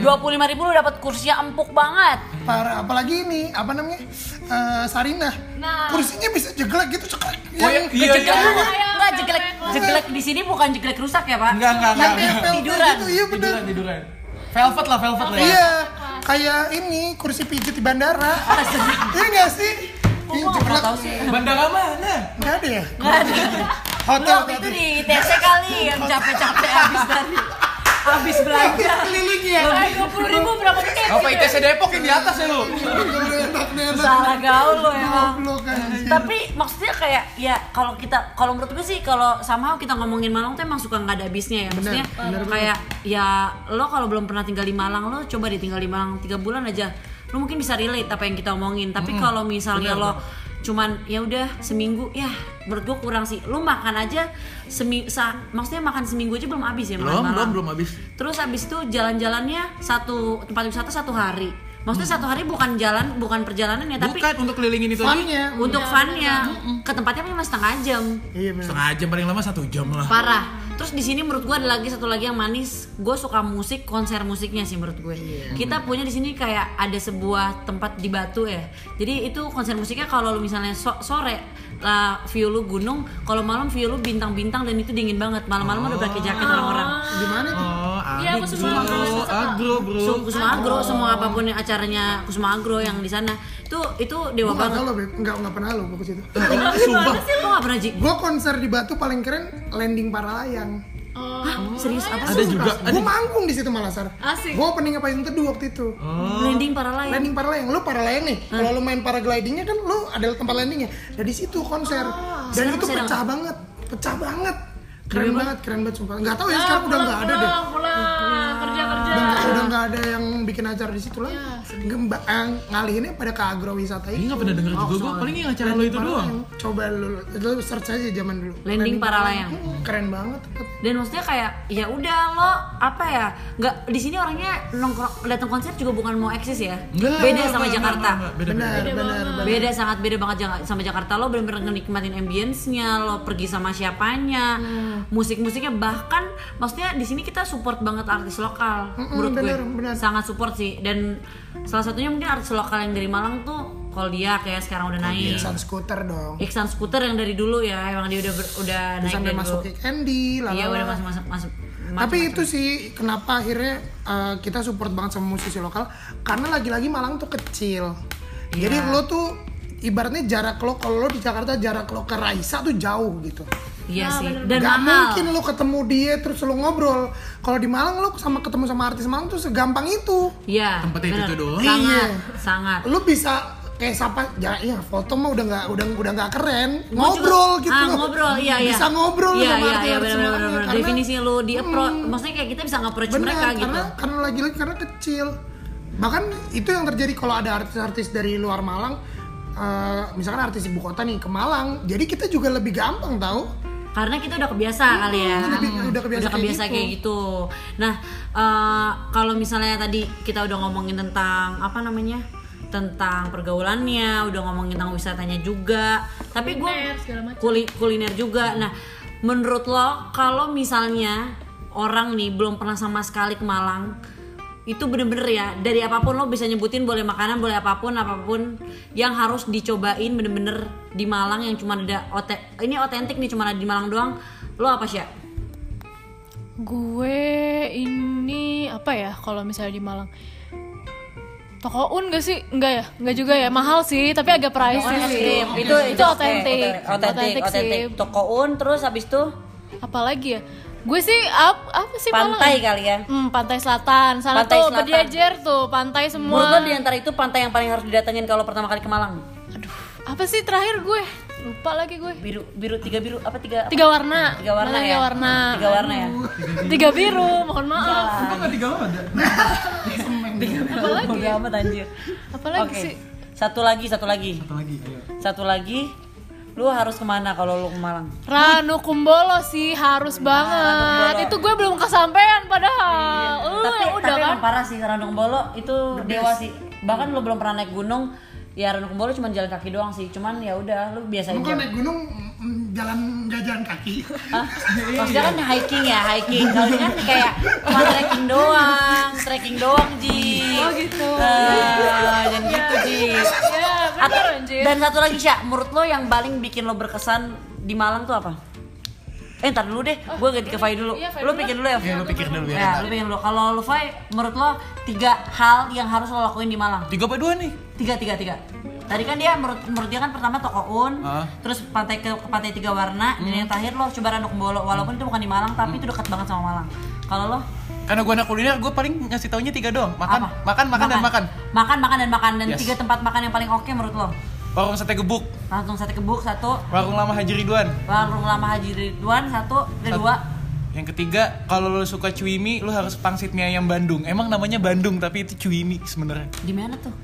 Dua puluh lima ribu lu dapat kursinya empuk banget. Parah, apalagi ini, apa namanya? Eh, Sarinah Nah. Kursinya bisa jeglek gitu, cekrek Oh, iya, iya, Jeglek, iya. enggak jeglek, jeglek di sini bukan jeglek rusak ya pak? Enggak, enggak, enggak. Yang kayak velvet Tiduran. gitu, Iya bener Tiduran, tiduran. Velvet lah, velvet lah. ya. Iya, kayak ini kursi pijat di bandara. Iya nggak sih? Kok Ini gua nggak pernah jeglek. tahu sih? Bandara mana? Nggak ada ya? Nggak ada. Lu Hotel waktu itu berarti. di TC kali yang capek-capek habis dari habis belanja Kelilingnya. ya? Dua puluh ribu berapa menit? Apa ITC Depok yang di atas ya lu? Enak nih, enak. salah gaul lo emang Goblok, anjing. tapi maksudnya kayak ya kalau kita kalau menurut gue sih kalau sama kita ngomongin Malang tuh emang suka nggak ada habisnya ya maksudnya kayak ya lo kalau belum pernah tinggal di Malang lo coba deh tinggal di Malang tiga bulan aja lo mungkin bisa relate apa yang kita omongin tapi kalau misalnya lo cuman ya udah seminggu ya menurut gue kurang sih lo makan aja semi sa- maksudnya makan seminggu aja belum habis ya makan Belum, Malang. belum, belum habis. Terus abis itu jalan-jalannya satu tempat wisata satu hari. Maksudnya Mm. satu hari bukan jalan, bukan perjalanan ya, tapi Bukan untuk kelilingin itu aja. Funnya. Iya, untuk funnya ke tempatnya memang setengah jam. Iya benar. Setengah jam paling lama satu jam lah. Parah. Terus di sini menurut gue ada lagi satu lagi yang manis. Gue suka musik, konser musiknya sih menurut gue. Kita punya di sini kayak ada sebuah tempat di Batu ya. Jadi itu konser musiknya kalau lu misalnya so- sore lah view lu gunung, kalau malam view lu bintang-bintang dan itu dingin banget. Malam-malam udah pakai jaket orang-orang. Gimana tuh? Oh, Iya, aku agro, semua bro. agro, bro. Kusuma, Kusuma Agro, semua apapun yang acaranya Kusuma Agro yang di sana itu itu dewa Gua nggak banget. tahu lo, Beb. Nggak, nggak pernah lo gua ke situ. Sumpah. Apa sih lo nggak pernah Ji? Gue konser di Batu paling keren landing para layang. Eh, Hah, serius apa Ada sih? juga. Ada Gue manggung di situ malah sar. Asik. Gue opening apa yang teduh waktu itu. Landing para layang. Landing para layang, lu para layang nih. Kalau lu main paraglidingnya kan lu ada tempat landingnya. Dan di situ konser. Dan Oh, Sekarang itu masih ada pecah banget, pecah banget. Keren banget, keren banget sumpah. Gak tau ya sekarang udah nggak ada deh. Pulang, pulang, kerja, kerja. Udah nggak- Udah nggak ada yang bikin acara di situ lagi. Ya, Gembang ngalihinnya pada ke agrowisata Ini itu. nggak pernah denger juga gue, paling yang acara lo itu Para doang. layang. Coba lu, lu search aja zaman dulu. Landing para layang. Hmm, Keren banget. Dan maksudnya kayak ya udah lo apa ya? Nggak di sini orangnya nongkrong datang konser juga bukan mau eksis ya. Nggak, Beda nggak, sama nggak, Jakarta. nggak, nggak, Beda, beda. Benar, benar, benar. Beda sangat beda banget jang- sama Jakarta. Lo bener-bener nikmatin ambience-nya, lo pergi sama siapanya, Hmm. musik-musiknya bahkan maksudnya di sini kita support banget artis Hmm, lokal Mm-mm, menurut bener, gue. bener. Sangat support sih dan salah satunya mungkin artis lokal yang dari Malang tuh Koldiak ya sekarang udah naik. Iksan skuter dong. Iksan Skuter yang dari dulu ya, emang dia udah ber- udah naik Sampai dari masuk dulu. Kick Andy, Iya, lalala. Ah. udah masuk masuk masuk. Tapi itu sih kenapa akhirnya uh, kita support banget sama musisi lokal karena lagi-lagi Malang tuh kecil. Iya. Jadi lo tuh ibaratnya jarak lo kalau lo di Jakarta jarak lo ke Raisa tuh jauh gitu. Iya sih. Dan Gak mahal. mungkin lo ketemu dia terus lo ngobrol. Kalau di Malang lo sama ketemu sama artis Malang tuh segampang itu. Iya. Tempatnya itu bener. tuh doang. Sangat, Iya. sangat. Lo bisa kayak sapa ya, ya foto mah udah nggak udah udah nggak keren Gua ngobrol juga- gitu ah, loh. ngobrol iya iya bisa ngobrol lo iya sama iya artis iya artis benar Malang ya, benar karena- Hmm. definisi lu di approach maksudnya kayak kita bisa nge-approach Benar, mereka gitu karena, karena lagi-lagi karena kecil. Bahkan itu yang terjadi kalau ada artis-artis dari luar Malang, eh, misalkan artis ibu kota nih ke Malang, jadi kita juga lebih gampang tahu. karena kita udah kebiasa kali ya lebih- Hmm. udah kebiasa kayak gitu. kayak gitu nah eh, kalau misalnya tadi kita udah ngomongin tentang apa namanya tentang pergaulannya udah ngomongin tentang wisatanya juga tapi gue Kuliner, segala macam. Iya. kuli- kuliner juga nah menurut lo kalau misalnya orang nih belum pernah sama sekali ke Malang itu bener-bener ya dari apapun lo bisa nyebutin boleh makanan boleh apapun apapun yang harus dicobain bener-bener di Malang yang cuma ada ote- ini otentik nih cuma ada di Malang doang lo apa sih Gue ini apa ya kalau misalnya di Malang? Toko Un gak sih? Enggak ya? Enggak juga ya. Mahal sih, tapi agak pricey sih. itu itu otentik. otentik otentik toko un terus habis itu Apalagi ya? Gue sih ap- apa sih Malang? pantai kali ya Hmm, pantai selatan. Sana Pantai tuh selatan. berjejer tuh, pantai menurut semua. lo di antara itu pantai yang paling harus didatengin kalau pertama kali ke Malang Aduh, apa sih terakhir gue? Lupa lagi gue. biru biru tiga biru apa tiga Tiga warna. tiga warna Mana ya Tiga warna. tiga warna Iya. ya Tiga biru, mohon maaf. Sumpah Kan nggak tiga ada. Apalagi? Bodo amat anjir Apalagi Oke. sih? satu lagi satu lagi Satu lagi, ayo. satu lagi lu harus kemana kalau lu ke Malang Ranu Kumbolo sih harus banget. Itu gue belum kesampaian padahal. Lu Iya. tapi yang udah tapi kan. emang parah sih Ranung Bolo itu dewa sih bahkan lu belum pernah naik gunung ya Ranung Bolo cuma jalan kaki doang sih cuman ya udah lu biasa Mungkin aja naik gunung mm, jalan nggak jalan kaki. Hah? maksudnya kan hiking ya hiking kalau ini kan kayak cuma trekking doang trekking doang Ji Oh, gitu. Eh, dan gitu Ji Ya, bener Atau- anjir. dan satu lagi Sya, menurut lo yang paling bikin lo berkesan di Malang tuh apa? Eh ntar dulu deh, gue ganti ke Fai dulu. Iya, Fai lo dulu. pikir dulu ya. Iya, lu pikir dulu ya. Ya, lo pikir dulu. Kalau lo Fai, menurut lo tiga hal yang harus lo lakuin di Malang? Tiga apa dua nih? Tiga, tiga, tiga. Tadi kan dia menurut, menurut dia kan pertama toko Un, Hah? Hmm. terus pantai ke, ke pantai tiga warna, dan yang terakhir lo coba Randuk Bolo. Walaupun itu bukan di Malang, tapi itu dekat banget sama Malang. Kalau lo Karena gue anak kuliner, gue paling ngasih taunya tiga doang. Makan, apa? makan, makan, dan makan. Makan, makan dan makan dan Yes. tiga tempat makan yang paling oke menurut lo. Warung sate gebuk, Langsung sate kebuk satu, warung lama Haji Ridwan. warung lama Haji Ridwan satu, ada Sat- dua. Yang ketiga, kalau lo suka cuimi, lo harus pangsit mie ayam Bandung. Emang namanya Bandung, tapi itu cuimi sebenarnya. Di mana tuh?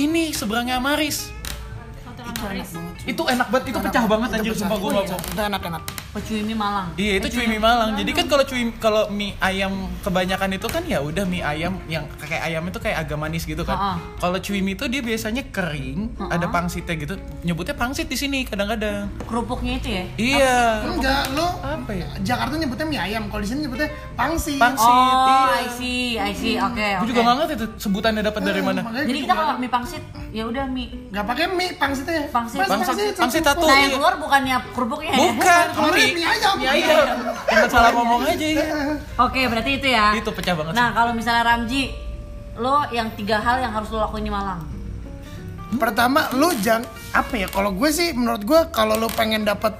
Ini seberangnya Amaris. Itu enak banget, itu pecah banget anjir sumpah gue Itu enak-enak. Pecuimi Malang. Iya, itu cuimi Malang. Jadi kan kalau cuimi kalau mie ayam kebanyakan itu kan ya udah mie ayam yang kayak ayam itu kayak agak manis gitu kan. Ha-ha. Kalau cuimi itu dia biasanya kering, ada pangsitnya gitu. Nyebutnya pangsit di sini kadang-kadang. Kerupuknya itu ya? Iya. Enggak, lo Apa ya? Jakarta nyebutnya mie ayam, kalau di sini nyebutnya pangsi. Pangsi. Oh, iya. I see, I see. Oke, Gue oke. Eh. juga nggak ngerti itu sebutannya dapat dari mana. Eh, Makanya Jadi gua kita juga kalau mie pangsit, ya udah mie. nggak pakai mie ya. pangsitnya. Pangsit. Mas, Pangsit- pangsit satu. Tuh, Nah, yang iya. keluar bukannya kerupuknya. ya? Bukan, Keluarin mie. mie ayam. Mie ayam. Cuma salah ngomong aja Eh, ya. Oke, berarti itu ya. Itu pecah banget. Nah, kalau misalnya Ramji, lo yang tiga hal yang harus lo lakuin di Malang. Pertama, lu jangan apa ya? Kalau gue sih, menurut gue kalau lu pengen dapat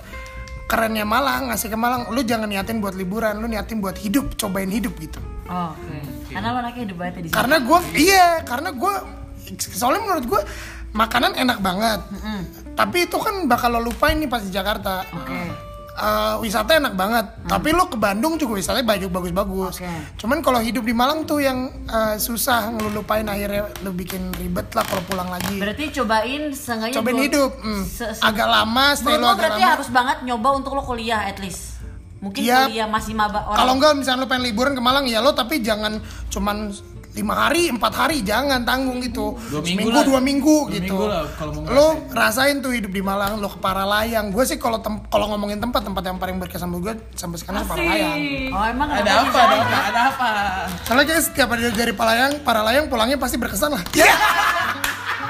kerennya Malang, ngasih ke Malang, lu jangan niatin buat liburan, lu niatin buat hidup, cobain hidup gitu. Oke. Karena lo anaknya hidup banget ya di sini. Karena gue, iya, karena gue, soalnya menurut gue makanan enak banget. Tapi itu kan bakal lo lupain nih pas di Jakarta. Oke. Mm. Eh, wisata enak banget, tapi lo ke Bandung juga wisatanya banyak bagus-bagus. Oke. Cuman kalau hidup di Malang tuh yang eh, susah lu lupain akhirnya lu bikin ribet lah kalau pulang lagi. Berarti cobain seenggaknya Cobain dua- hidup, mm. se- se- agak lama, stay Menurut lo lo agak berarti lama. harus banget nyoba untuk lo kuliah at least. Mungkin Iya. kuliah masih maba orang. Kalau enggak misalnya lu pengen liburan ke Malang ya lo tapi jangan cuman lima hari, empat hari, jangan tanggung gitu. Dua minggu Seminggu, lah. dua minggu Dua gitu. minggu lah kalau mau lo rasain tuh hidup di Malang, lo ke Paralayang. Gue sih kalau tem- kalau ngomongin tempat, tempat yang paling berkesan buat gue sampai sekarang Paralayang. Oh, emang Ada kenapa bisa? apa? Ada apa? Ada apa? Soalnya kayak setiap hari dari Paralayang, Paralayang pulangnya pasti berkesan lah.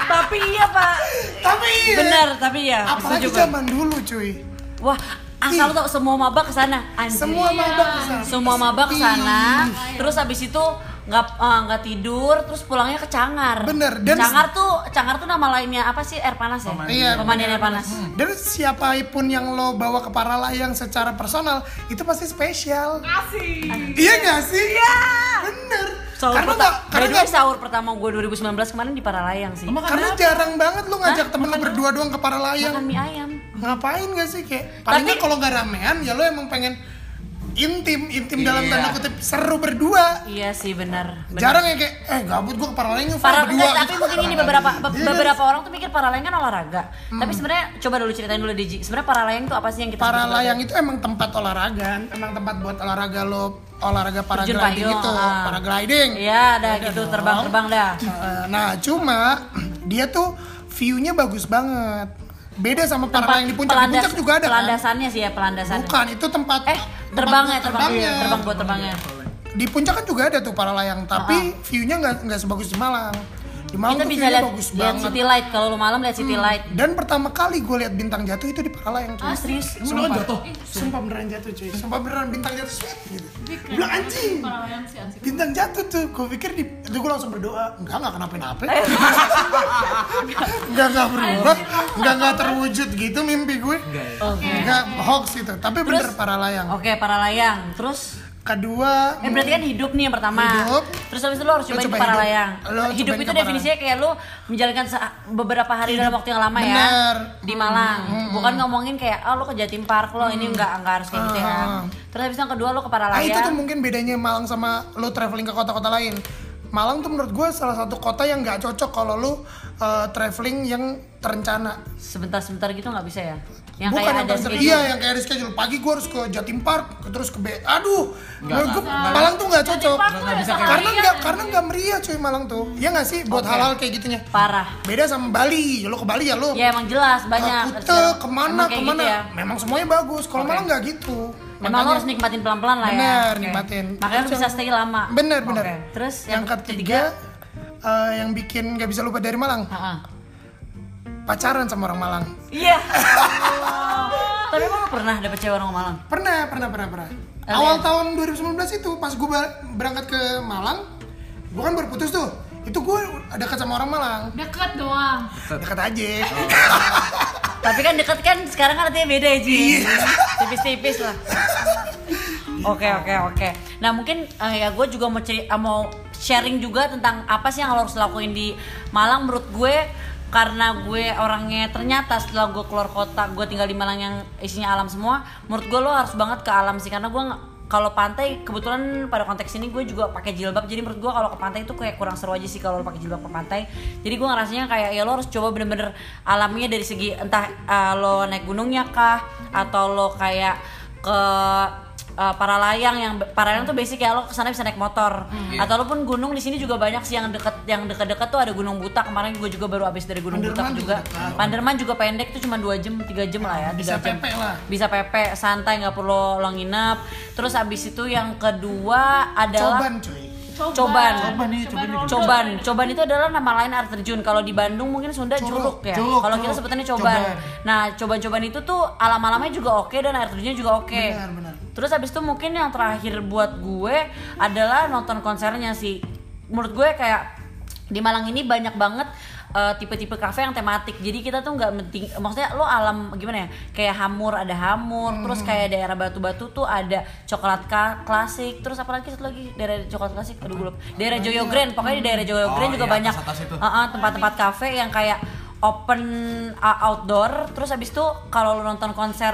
Tapi iya, Pak. tapi iya. Benar, tapi ya. Apalagi zaman dulu cuy. Wah, asal lo tau semua maba ke sana. Anjir. Semua mabak kesana. semua maba ke sana terus habis itu nggak eh, nggak tidur terus pulangnya ke Cangar Bener, dan- Cangar tuh Cangar tuh nama lainnya apa sih air panas ya Iya, pemandian air panas Dan siapapun yang lo bawa ke Paralayang secara personal, itu pasti spesial. Iya gak sih? Iya. Bener. sahur karena pertama gak, karena by the way, nggak- sahur pertama gue 2019 kemarin di Paralayang sih karena jarang banget lo ngajak temen lo berdua doang ke Paralayang. makan mie ayam Ngapain gak sih kayak? Palingnya kalau nggak ramean ya lo emang pengen intim, intim dalam tanda kutip seru berdua. iya sih benar benar. Jarang ya kayak, eh gabut gue ke Paralayang yuk, Para, berdua. enggak, tapi gitu. mungkin ini beberapa be- Iya, beberapa orang tuh mikir Paralayang kan olahraga tapi Hmm. sebenarnya coba dulu ceritain dulu Diji sebenarnya Paralayang tuh apa sih yang kita sebut sebagai- Paralayang itu emang tempat olahraga, emang tempat buat olahraga lo olahraga gitu, Terjun paragliding payung, itu, ah. paragliding. iya dah gitu terbang-terbang dah Eh, Nah, cuma dia tuh view-nya bagus banget. Beda sama paralayang di puncak. Di Pelandas- puncak juga ada kan? pelandasannya sih ya pelandasannya Bukan, itu tempat Eh, tempat terbangnya, buat terbang, iya, terbang buat terbangnya. Di puncak kan juga ada tuh paralayang, tapi view-nya nggak nggak sebagus di Malang. Di Kita Malang tuh bisa view-nya lihat bagus lihat banget. Hmm. city light kalau lu malam lihat city light. Dan pertama kali gue lihat bintang jatuh itu di paralayang. cuy. Ah, serius? Sumpah. Sumpah beneran jatuh cuy. Sumpah beneran bintang jatuh sweet gitu. Gue bilang anjing. Bintang jatuh tuh. Gue pikir di itu gue langsung berdoa. Enggak enggak kenapa-napa. Enggak enggak berubah. Enggak enggak terwujud gitu mimpi gue. Oke. Enggak hoax itu. Tapi bener para layang. Oke, paralayang. Terus Kedua eh berarti kan hidup nih yang pertama. Hidup. Terus habis itu lu harus Lu cobain coba para layang. hidup. Lu Hidup cobain itu ke definisinya kayak lu menjalankan se- beberapa hari dalam waktu yang lama ya. Bener. Hmm, Di Malang. Bukan ngomongin kayak oh lu ke Jatim Park lo ini enggak enggak harus kayak gitu ya. Ah. Terus habis itu yang kedua lu ke Ah itu tuh paralayang. mungkin bedanya Malang sama lo traveling ke kota-kota lain. Malang tuh menurut gue salah satu kota yang nggak cocok kalau lo eh, traveling yang terencana. Sebentar-sebentar gitu nggak bisa ya. Yang Bukan kayak yang ada terser- schedule. Iya, yang kayak ada schedule. Pagi gue harus ke Jatim Park, ke- terus ke B. Aduh, menurut gue Malang tuh nggak cocok. Karena nggak kan? karena nggak meriah cuy Malang tuh. Iya nggak sih buat halal kayak gitunya. Parah. Beda sama Bali. Ya, Lo ke Bali ya lo. Ya emang jelas ke banyak. Kute, kemana Emang kayak kemana. Gitu ya. Memang semuanya bagus. Kalau Malang nggak gitu. Emang lo harus nikmatin pelan-pelan lah ya. Bener, Oke. nikmatin. Makanya lo bisa stay lama. Bener bener. Oke. Terus ya- yang, ketiga, eh, yang bikin nggak bisa lupa dari Malang Ha-ha. pacaran sama orang Malang. Iya. Tapi emang lo pernah dapet cewek orang Malang? Pernah, pernah, pernah, pernah. Awal tahun 2019 itu pas gue berangkat ke Malang, gue kan baru putus tuh. itu gue dekat sama orang Malang Deket doang. dekat aja Oh. Tapi kan deket kan sekarang kan artinya beda ya Ji. Tipis-tipis lah. Oke oke oke. Nah mungkin eh, ya gue juga mau ceri- eh, mau sharing juga tentang apa sih yang lo harus lakuin di Malang menurut gue karena gue orangnya ternyata setelah gue keluar kota gue tinggal di Malang yang isinya alam semua. Menurut gue lo harus banget ke alam sih karena gue nggak- kalau pantai kebetulan pada konteks ini gue juga pakai jilbab jadi menurut gue kalau ke pantai itu kayak kurang seru aja sih kalau lo pakai jilbab ke pantai jadi gue ngerasanya kayak ya lo harus coba bener-bener alamnya dari segi entah eh, lo naik gunungnya kah atau lo kayak ke uh, para layang yang para layang tuh basic ya lo kesana bisa naik motor atau lo pun gunung di sini juga banyak sih yang deket yang deket-deket tuh ada gunung buta kemarin gue juga baru habis dari gunung Panderman buta juga juga Panderman juga pendek tuh cuma 2 jam 3 jam lah ya tiga bisa jam. pepe lah. bisa pepe santai nggak perlu lo nginep terus abis itu yang kedua adalah coban cuy Coban. Coban. Coban ya, coban ya. Coban, coban itu adalah nama lain air terjun. Kalau di Bandung mungkin Sunda curug Curug, ya. curug, Kalau kita curug. sebutannya coban. Coban. Nah, coban-coban itu tuh alam-alamnya juga oke dan air terjunnya juga oke. Benar, benar. Terus abis itu mungkin yang terakhir buat gue adalah nonton konsernya sih. Menurut gue kayak di Malang ini banyak banget eh, tipe-tipe kafe yang tematik. Jadi kita tuh nggak penting, maksudnya lo alam gimana ya? Kayak hamur ada hamur, Hmm. terus kayak daerah batu-batu tuh ada coklat ka- klasik, terus apalagi satu lagi daerah coklat klasik, aduh gue lupa. Daerah Joyo Grand, ya? pokoknya di Hmm. daerah Joyo Oh, Grand juga iya, banyak atas-atas itu. Iya, Ah, ah, tempat-tempat kafe yang kayak open uh, outdoor terus abis itu kalau lu nonton konser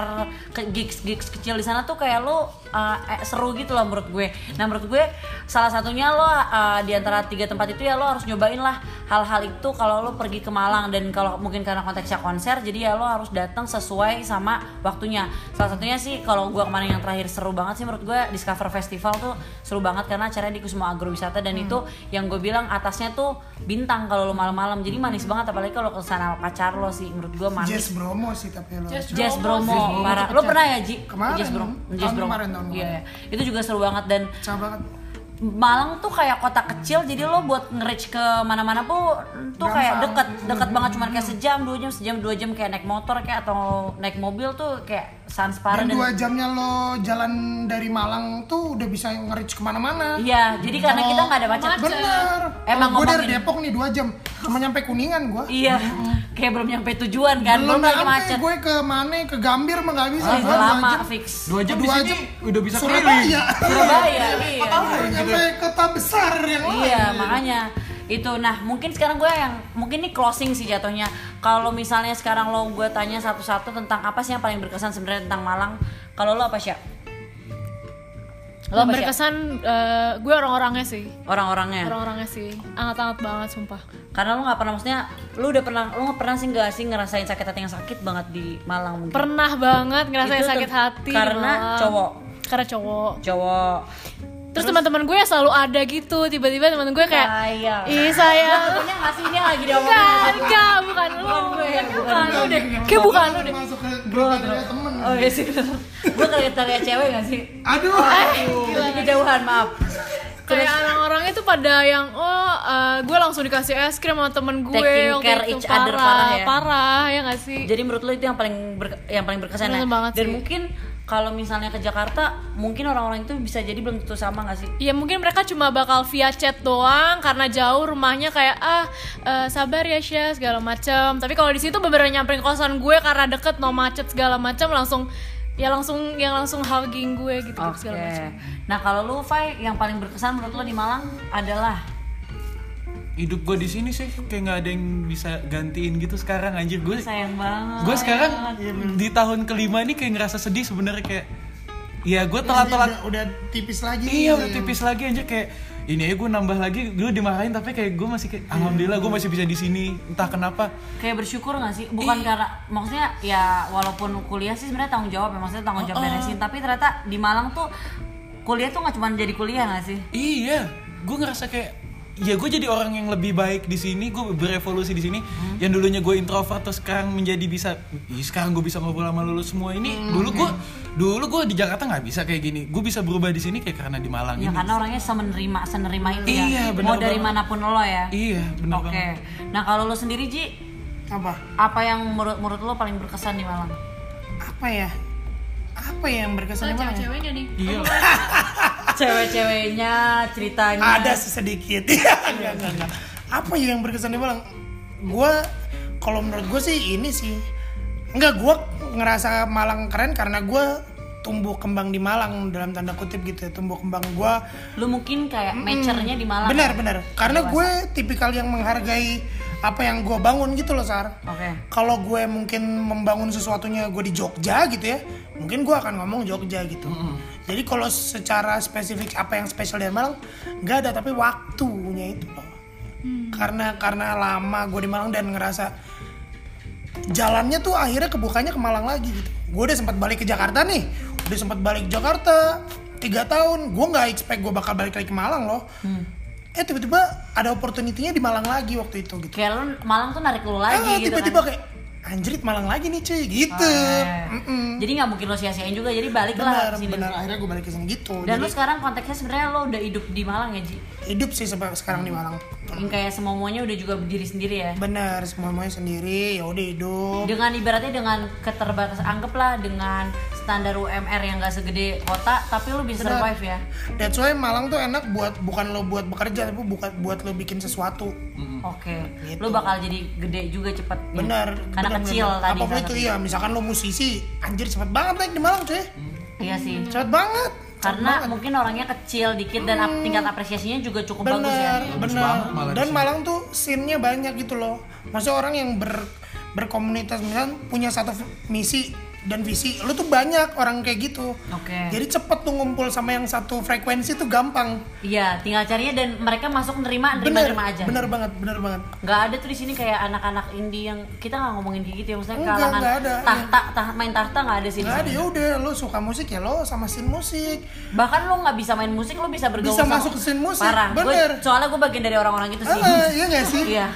ke gigs gigs kecil di sana tuh kayak lu uh, eh, seru gitu loh menurut gue nah menurut gue salah satunya lo uh, di antara tiga tempat itu ya lo harus nyobain lah hal-hal itu kalau lo pergi ke Malang dan kalau mungkin karena konteksnya konser jadi ya lo harus datang sesuai sama waktunya salah satunya sih kalau gue kemarin yang terakhir seru banget sih menurut gue Discover Festival tuh seru banget karena acaranya di Kusuma Agrowisata Hmm. dan itu yang gue bilang atasnya tuh bintang kalau lo malam-malam jadi manis banget apalagi kalau kesana pacar lo sih menurut gue manis Jazz Bromo sih tapi lo Jazz Jazz Bromo Bromo, sih. parah. Lo pernah ya, Ji? Kemarin, Jazz Bromo. tahun Jazz Bromo. kemarin, tahun Iya, kemarin. iya. Itu juga seru banget dan pecah banget Malang tuh kayak kota kecil jadi lo buat nge-reach ke mana-mana tuh tuh Gampang. Mhm. kayak deket deket banget cuman kayak sejam dua jam sejam dua jam kayak naik motor kayak atau naik mobil tuh kayak dan sanspara dua jamnya lo jalan dari Malang tuh udah bisa nge-reach kemana-mana iya jadi karena kita nggak ada macet Oh. bener Emang gue dari ngomongin- Depok nih dua jam cuma nyampe kuningan gue iya kayak belum nyampe tujuan kan belum belum lagi nyampe macet gue ke mana ke Gambir mah nggak bisa Wah, Gua dua lama jam. fix Dua jam di Dua sini jam. udah bisa keliling. Surabaya Surabaya iya. Baru nyampe kota besar yang lain Iya, makanya itu. Nah, mungkin sekarang gue yang mungkin ini closing sih jatuhnya. Kalau misalnya sekarang lo gue tanya satu-satu tentang apa sih yang paling berkesan sebenarnya tentang Malang? Kalau lo apa sih? Lo Yang apa Nah. Syah? berkesan eh, gue orang-orangnya sih. Orang-orangnya. Orang-orangnya sih. Angat-angat banget sumpah. Karena lo nggak pernah maksudnya, lo udah pernah lo nggak pernah sih nggak sih ngerasain sakit hati yang sakit banget di Malang mungkin. Pernah banget ngerasain Itu tuh sakit hati karena malah. cowok. Karena cowok. cowok. Terus teman-teman gue selalu ada gitu, tiba-tiba teman gue kayak Kayak. Ih sayang Tentunya nggak sih ini yang lagi diomongin. Enggak, enggak, bukan lu ya, Bukan, lu deh Kayak bukan lu deh masuk ke grup ada temen Oh iya sih bener. Gue kaget kaget cewek nggak sih? aduh Jadi kejauhan maaf. Kayak orang-orang itu pada yang Oh, eh, gue langsung dikasih es krim sama temen gue Taking waktu care itu. each other parah ya. Parah, ya gak sih? Jadi menurut lo itu yang paling ber- yang paling berkesan ya? Bener banget Dan sih. mungkin kalau misalnya ke Jakarta, mungkin orang-orang itu bisa jadi belum tentu sama gak sih? Ya mungkin mereka cuma bakal via chat doang karena jauh rumahnya kayak ah eh, sabar ya Syah segala macam. Tapi kalau di situ beberapa nyamperin kosan gue karena deket no macet segala macam langsung ya langsung yang langsung hugging gue gitu, gitu segala macam. Nah kalau lu Fai, yang paling berkesan menurut lo di Malang adalah Hidup gue di sini sih kayak nggak ada yang bisa gantiin gitu sekarang anjir gue. sayang banget. Gue sekarang di tahun kelima ini kayak ngerasa sedih sebenarnya kayak ya gue telat-telat udah, udah tipis lagi Iya udah tipis lagi aja kayak ini aja gue nambah lagi gue dimarahin tapi kayak gue masih kayak alhamdulillah gue masih bisa di sini entah kenapa kayak bersyukur gak sih? Bukan karena maksudnya ya walaupun kuliah sih sebenarnya tanggung jawab ya, maksudnya tanggung Oh, jawab beresin. Tapi ternyata di Malang tuh kuliah tuh nggak cuma jadi kuliah gak sih? iya gue ngerasa kayak ya gue jadi orang yang lebih baik di sini gue berevolusi di sini yang dulunya gue introvert terus sekarang menjadi bisa "Ih, sekarang gue bisa ngobrol sama lulu semua ini dulu gue dulu gue di Jakarta nggak bisa kayak gini gue bisa berubah di sini kayak karena di Malang Ya ini karena orangnya semenerima, senerima itu ya. Iya, bener Mau dari banget. manapun lo ya. iya bener Oke. banget Nah kalau lo sendiri Ji, apa apa yang menurut menurut lo paling berkesan di Malang? apa ya apa ya yang berkesan di Malang ya? ceweknya nih. iya Cewek-ceweknya, ceritanya. Ada sih sedikit. Iya, Enggak, enggak, enggak. apa ya yang berkesan di Malang gue kalau menurut gue sih ini sih enggak gue ngerasa Malang keren karena gue tumbuh kembang di Malang dalam tanda kutip gitu ya tumbuh kembang gue Lu mungkin kayak macernya di Malang. benar benar karena gue tipikal yang menghargai apa yang gue bangun gitu loh Sar Oke. kalau gue mungkin membangun sesuatunya gue di Jogja gitu ya mungkin gue akan ngomong Jogja gitu jadi kalau secara spesifik apa yang spesial dari Malang nggak ada tapi waktunya itu loh karena karena lama gue di Malang dan ngerasa jalannya tuh akhirnya kebukanya ke Malang lagi gitu gue udah sempat balik ke Jakarta nih udah sempat balik ke Jakarta tiga tahun gue nggak expect gue bakal balik lagi ke Malang loh eh tiba-tiba ada opportunity-nya di Malang lagi waktu itu gitu Kayak lu Malang tuh narik lu Ah, lagi gitu tiba-tiba kan. kayak anjrit Malang lagi nih cuy gitu Ah. Mm-mm. Jadi nggak mungkin lo sia-siain juga, jadi balik benar lah ke sini. benar akhirnya gue balik ke sini gitu Dan lu Jadi, sekarang konteksnya sebenarnya lo udah hidup di Malang ya, Ji? hidup sih sebe- sekarang di Malang Yang kayak semuanya udah juga berdiri sendiri ya. benar semuanya sendiri ya udah hidup Dengan ibaratnya dengan keterbatasan anggaplah dengan standar UMR yang gak segede kota, tapi lu bisa Benar. survive ya. That's why Malang tuh enak buat bukan lo buat bekerja tapi bukan buat lo bikin sesuatu. Hmm. Oke, Gitu. lu bakal jadi gede juga cepet. ya? Benar. Karena benar, kecil benar. tadi. kan. gitu. Apapun salah itu satu. iya, misalkan lo musisi, anjir cepet banget naik di Malang cuy. Iya sih. Cepet banget. Cepet Karena Hmm. banget. Hmm. mungkin orangnya kecil dikit dan ap- tingkat apresiasinya juga cukup bagus ya. benar, benar. banget malah di Dan sini. Malang tuh scene-nya banyak gitu loh. Maksudnya orang yang ber berkomunitas misalkan punya satu misi dan visi, lu tuh banyak orang kayak gitu. Oke. Jadi cepet tuh ngumpul sama yang satu frekuensi tuh gampang. Iya, tinggal carinya dan mereka masuk nerima, nerima, Bener, nerima aja. bener banget, bener banget. nggak ada tuh di sini kayak anak-anak indie yang kita nggak ngomongin kayak gitu ya maksudnya Enggak, kalangan nggak ada. tahta tah- main tahta nggak ada sih di Nggak ada sini. ya udah lo suka musik ya lo sama scene musik. bahkan lo nggak bisa main musik lo bisa bergaul Bisa sama- masuk ke scene musik, parah Gua- bener. soalnya gue bagian dari orang-orang itu sih Ah, iya nggak sih? iya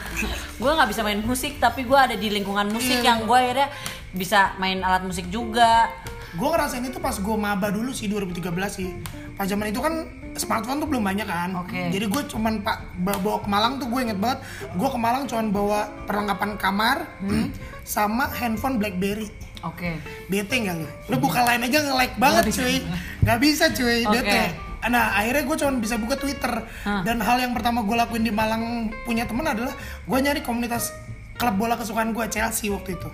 gue nggak bisa main musik tapi gue ada di lingkungan musik Iya. yang gue akhirnya bisa main alat musik juga Gue ngerasain itu pas gue maba dulu sih 2013 sih. Pas zaman itu kan smartphone tuh belum banyak kan. Oke. Jadi gue cuman pak ba- bawa ke Malang tuh gue inget banget. Gue ke Malang cuman bawa perlengkapan kamar hmm, sama handphone BlackBerry. oke Bete nggak lu? Lu buka lain aja nge-like banget cuy. Nggak bisa cuy, Oke. bete. Nah akhirnya gue cuman bisa buka Twitter. Dan hal yang pertama gue lakuin di Malang punya temen adalah gue nyari komunitas klub bola kesukaan gue Chelsea waktu itu.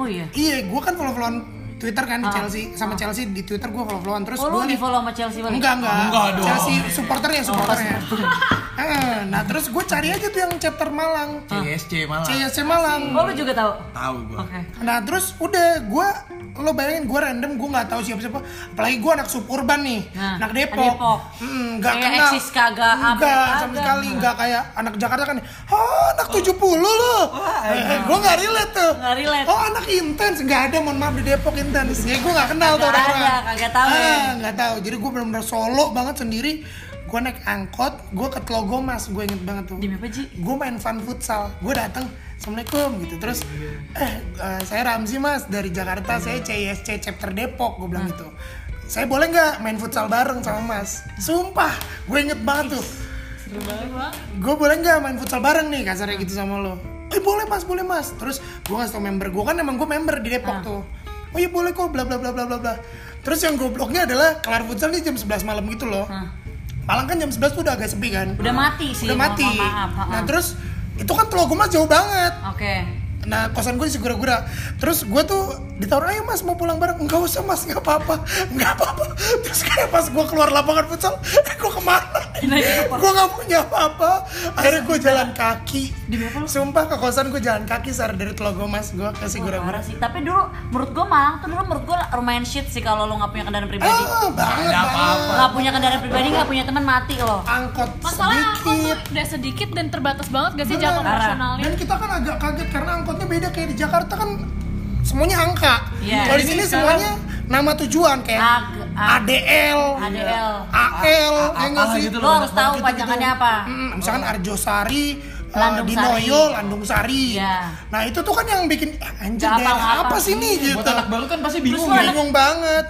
oh iya Iya, gue kan follow-followan Twitter kan di Chelsea sama Chelsea di Twitter gue follow-followan terus Ah. oh lo gue di follow sama Chelsea balik Oh, Enggak, enggak. Oh, Enggak dong. Chelsea supporternya, supporternya. ya. Eh, nah, terus gue cari aja tuh yang chapter Malang. CSC malah. CSC Malang. oh lo juga tahu Tahu gua. oke Nah, terus udah gue lo bayangin gue random gue nggak tahu siapa siapa apalagi gue anak suburban nih Nah, anak Depok, Depok. Mm, nggak Kayak kenal eksis kagak, apa nggak sama kagak. sekali nggak kayak anak Jakarta kan oh anak 70 lo gue nggak relate tuh eh, Nggak relate. oh anak intens nggak ada mohon maaf di Depok intens ya gue nggak kenal tuh Kagak ada, orang-orang kagak tahu ya. Ah, nggak tahu jadi gue benar-benar solo banget sendiri gue naik angkot gue ke Tlogomas gue inget banget tuh Demi apa, Ji? gue main fun futsal gue datang assalamualaikum gitu terus eh eh, saya Ramzi mas dari Jakarta saya CISC chapter Depok gue bilang gitu saya boleh nggak main futsal bareng sama mas sumpah gue inget banget tuh gue boleh nggak main futsal bareng nih kasarnya gitu sama lo eh boleh mas boleh mas terus gue ngasih tau member gue kan emang gue member di Depok Ah. tuh oh iya boleh kok bla bla bla bla bla bla terus yang gobloknya adalah kelar futsal nih jam 11 malam gitu loh Malang kan jam 11 tuh udah agak sepi kan Ah. udah mati sih udah mohon mati maaf ha-ha. nah terus itu kan telur mas jauh banget oke nah kosan gue di Segura-Gura terus gue tuh ditawar ayo mas mau pulang bareng enggak usah mas nggak apa-apa nggak apa-apa terus kayak pas gue keluar lapangan futsal eh, gue kemana gue nggak punya apa-apa akhirnya gue jalan kaki sumpah ke kosan gue jalan kaki sar dari telur mas gue ke Segura-Gura parah sih tapi dulu menurut gue Malang tuh dulu menurut gue lumayan shit sih kalau lo nggak punya kendaraan pribadi ah Ada banget banget apa-apa. nggak punya kendaraan pribadi nggak punya teman mati lo angkot Masalahnya aku tuh sedikit udah sedikit dan terbatas banget gak sih Bener. jatuh Parah. emosionalnya? Dan kita kan agak kaget karena angkotnya beda kayak di Jakarta kan semuanya angka. Iya. Kalau di sini Ini semuanya nama tujuan kayak Ag- A- ADL, ADL. AL, ya nggak A- A- sih? gitu lo harus tahu Gitu-gitu. panjangannya apa Mm, misalkan Arjosari, eh, Landung Dinoyo, Sari. Landung Sari. Iya. Nah itu tuh kan yang bikin "Eh, anjir Nggak daerah apa-apa. apa sih nih gitu. Buat anak baru kan pasti bingung. Terus lu ya. Bingung banget.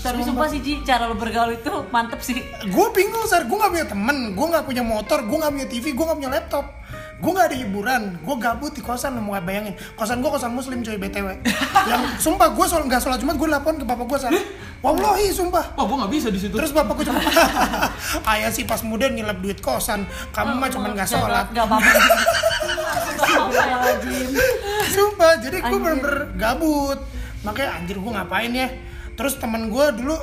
tapi sumpah sih Ji cara lo bergaul itu mantep sih Gue bingung sar, gue nggak punya temen, gue nggak punya motor, gue nggak punya TV, gue nggak punya laptop. Gue nggak ada hiburan, gue gabut di kosan, mau nggak bayangin. Kosan gue kosan muslim coy BTW. Yang sumpah gue soal nggak sholat jumat, gue lapor ke bapak gue sar. Wallahi sumpah. Wah, gue nggak bisa di situ. Terus bapakku cuma Ayah sih pas muda nilap duit kosan Kamu mah cuma gak sholat Gak apa-apa. Astagfirullahaladzim. Sumpah, jadi gue bener-bener gabut Makanya anjir gue ngapain ya Terus teman gue dulu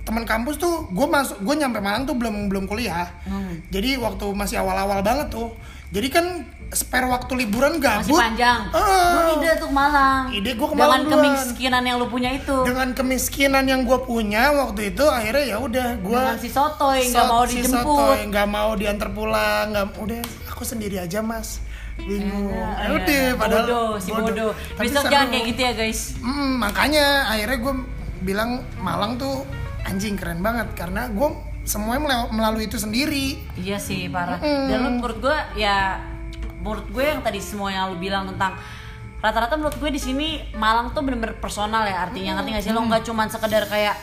teman kampus tuh gue masuk gue nyampe Malang tuh belum belum kuliah Hmm. jadi waktu masih awal-awal banget tuh jadi kan spare waktu liburan Masih gabut panjang. Eh, Lu ide tuh ke Malang. Ide gua ke Dengan Malang duluan. kemiskinan yang lu punya itu. dengan kemiskinan yang gue punya waktu itu akhirnya ya udah gue Dengan si Sotoy nggak mau Si dijemput. Sotoy nggak mau diantar pulang nggak udah aku sendiri aja mas bingung Iya, ya, udah iya. padahal bodoh, si bodoh. Tapi Besok seru. jangan kayak gitu ya guys. Mm, makanya akhirnya gue bilang Malang tuh anjing keren banget karena gue semuanya melew- melalui itu sendiri Iya sih parah. Dan lu menurut gue ya menurut gue yang tadi semua yang lu bilang tentang rata-rata menurut gue di sini Malang tuh bener-bener personal ya artinya ngerti gak sih lo nggak cuman sekedar kayak